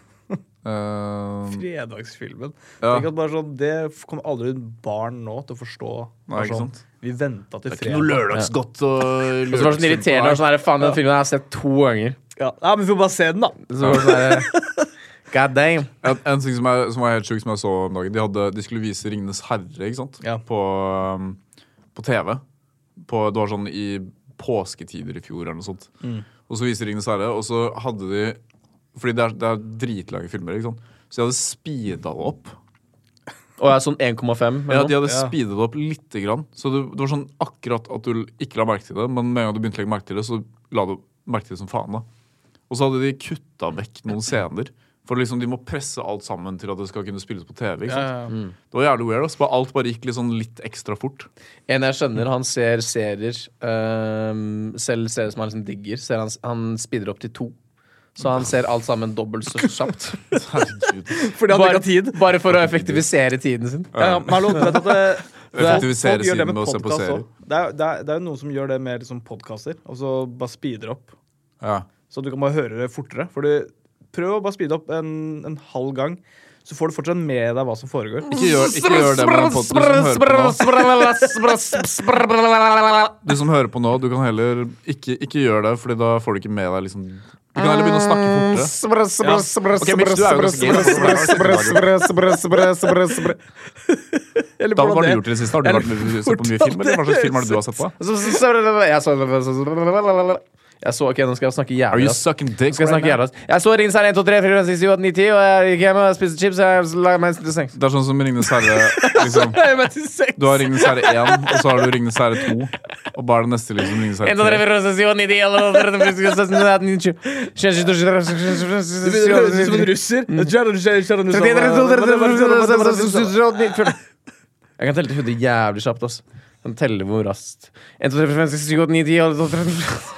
B: Um,
A: Fredagsfilmen.
B: Ja.
A: Tenk at bare sånn, Det f- kommer aldri barn nå til å forstå.
B: Nei,
A: Bare
B: ikke
A: sånn,
B: sant?
A: vi venta til
B: ikke noe
A: fredag.
B: lørdagsgodt og
C: Og så var det sånn irriterende. og Sånn her, faen, den filmen har jeg sett to ganger.
A: Ja. Nei, men vi får bare se den, da.
C: Så var det sånn her, God damn.
B: En, en ting som, er, som var helt sjuk, som jeg så om dagen De, hadde, de skulle vise 'Ringenes herre' ikke sant?
A: Ja.
B: På, um, på TV. På, det var sånn i påsketider i fjor eller noe sånt. Og så viste 'Ringenes herre', og så hadde de Fordi det er, det er dritlange filmer, ikke sant? så de hadde speeda det opp.
C: Og jeg er sånn 1,5. eller
B: Ja,
C: noe.
B: De hadde
A: Ja.
B: speedet det opp lite grann. Så det, det var sånn akkurat at du ikke la merke til det, men med en gang du begynte å legge merke til det, så la du merke til det som faen. da. Og så hadde de kutta vekk noen scener. For liksom, de må presse alt sammen til at det skal kunne spilles på TV. ikke sant? Mm. Det var jævlig weird. ass. Bare alt bare gikk litt, sånn litt ekstra fort.
C: En jeg skjønner, han ser serier øhm, Selv serier som han liksom digger ser han, han speeder opp til to Så han ser alt sammen dobbelt så kjapt
B: Herregud.
A: Fordi han ikke har
C: bare,
A: tid.
C: bare for å effektivisere tiden sin
A: Ja, ja, men hallo, du vet at det, det,
B: Effektivisere
A: folk gjør det
B: siden
A: med
B: med å se på
A: podcast
B: serier.
A: også. Det er, det, er, det er jo noen som gjør det med liksom podkaster, og så bare speeder opp.
B: Ja.
A: Så du kan bare høre det fortere. For du, prøv å bare speede opp en, en halv gang, så får du fortsatt med deg hva som foregår.
B: Ikke, gjør, ikke gjør det med den podden du som hører på nå. Du som hører på nå, du kan heller ikke, ikke gjøre det, Fordi da får du ikke med deg liksom Du kan heller begynne å snakke fortere. Ok, Mitch, du er jo ganske gay.
A: Eller
B: Da, hva har
A: hvordan
B: du
A: det-
B: gjort i det siste? Har du vært sett på mye
A: hvordan
B: film, eller hva slags film har du har sett på?
C: Jeg så Jeg så, ok, nå skal jeg snakke
B: Are
C: jævlig
B: you
C: raskt.
B: sucking dick?
C: Nå skal jeg snakke jævlig raskt. Jeg så Ringens herre 1, 2, 3, 4, 5, 6, 7, 8, 9, 10 Og jeg gikk hjem og spiste chips Og jeg la meg til sengs
B: Det er sånn som Ringenes herre. Liksom.
C: Jeg la meg til sengs
B: Du har Ringenes herre 1, og så har du Ringenes herre 2. Og bare det neste liksom Ringenes herre 3.
A: Du begynner å høres ut som en russer.
B: Mm.
C: Jeg kan telle til hodet jævlig kjapt, ass. Jeg kan telle hvor raskt. 1, 2, 3, 4, 5, 6, 7, 8, 9, 10 11, 12, 13, 14.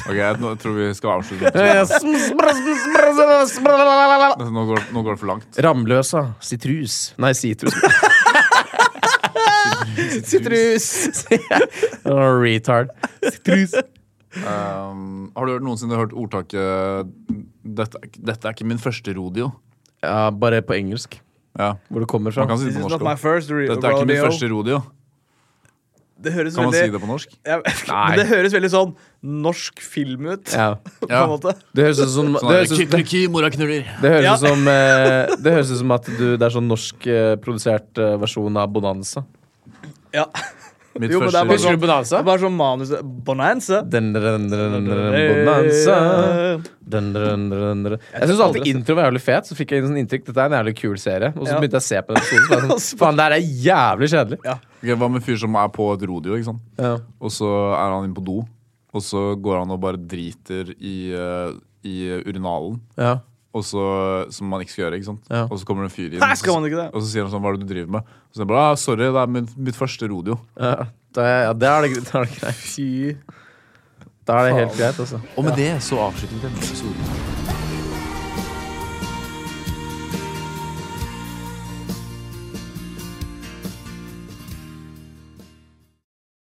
B: Ok, jeg nå tror vi skal avslutte.
C: Ja, ja. Sms, bra, sms, bra, sms, bra, la, la, la, la.
B: Nå går, nå går det for langt.
C: Ramløsa. Sitrus. Nei, sitrus. Sitrus. Oh, retard. Sitrus.
B: Um, har du hørt- noensinne hørt ordtaket dette, er ikke- 'Dette er ikke min første rodeo'?
C: Ja, bare på engelsk.
B: Ja,
C: Hvor det kommer fra.
B: man kan si det
A: This
B: på
A: is not
B: norsk
A: my
B: også.
A: first re-
B: Dette er ikke min
A: rodeo.
B: første rodeo.
A: Det høres
B: Kan man si
A: veldig-
B: det på norsk?
A: Ja, men det høres veldig sånn norsk film ut.
C: Ja.
A: På
B: Ja.
A: en måte.
C: Det høres ut
B: Sånn
C: som, det
B: er
C: høres
B: det.
C: ut, det,
B: Kykeliky, mora knuller.
C: det høres
A: Ja.
C: ut som, eh, det høres ut som at du, det er sånn norskprodusert eh, versjon av Bonanza.
A: Ja.
B: Mitt
A: Jo, men det er
B: første
A: bare
B: rodeo.
A: sånn-
C: Bonanza?
A: Det er bare sånn manus Bonanza.
C: Den, den, den, den, bonanza. Den, den, den, den. Jeg syns alltid intro var jævlig fet. Så fikk jeg inn sånn inntrykk Dette er en jævlig kul serie. Og så
A: Ja.
C: begynte jeg å se på den episoden. Så var jeg sånn, Faen, det her er jævlig kjedelig.
B: Ok, Hva med en fyr som er på et rodeo, ikke sant?
C: Ja.
B: og så er han inne på do, og så går han og bare driter i, eh, i urinalen.
C: Ja.
B: Og så, som man ikke skal gjøre. ikke sant?
C: Ja.
B: Og så kommer det en fyr inn,
A: Nei, skal man ikke det?
B: og så sier han sånn, hva er det du driver med? Og så er han bare, ah, sorry, det er min, mitt første rodeo.
C: Ja. Da, er- ja, det er det, gre- da er det greit.
A: Fy
C: Da er det helt greit, altså.
B: Og med det så avslutter vi denne episoden.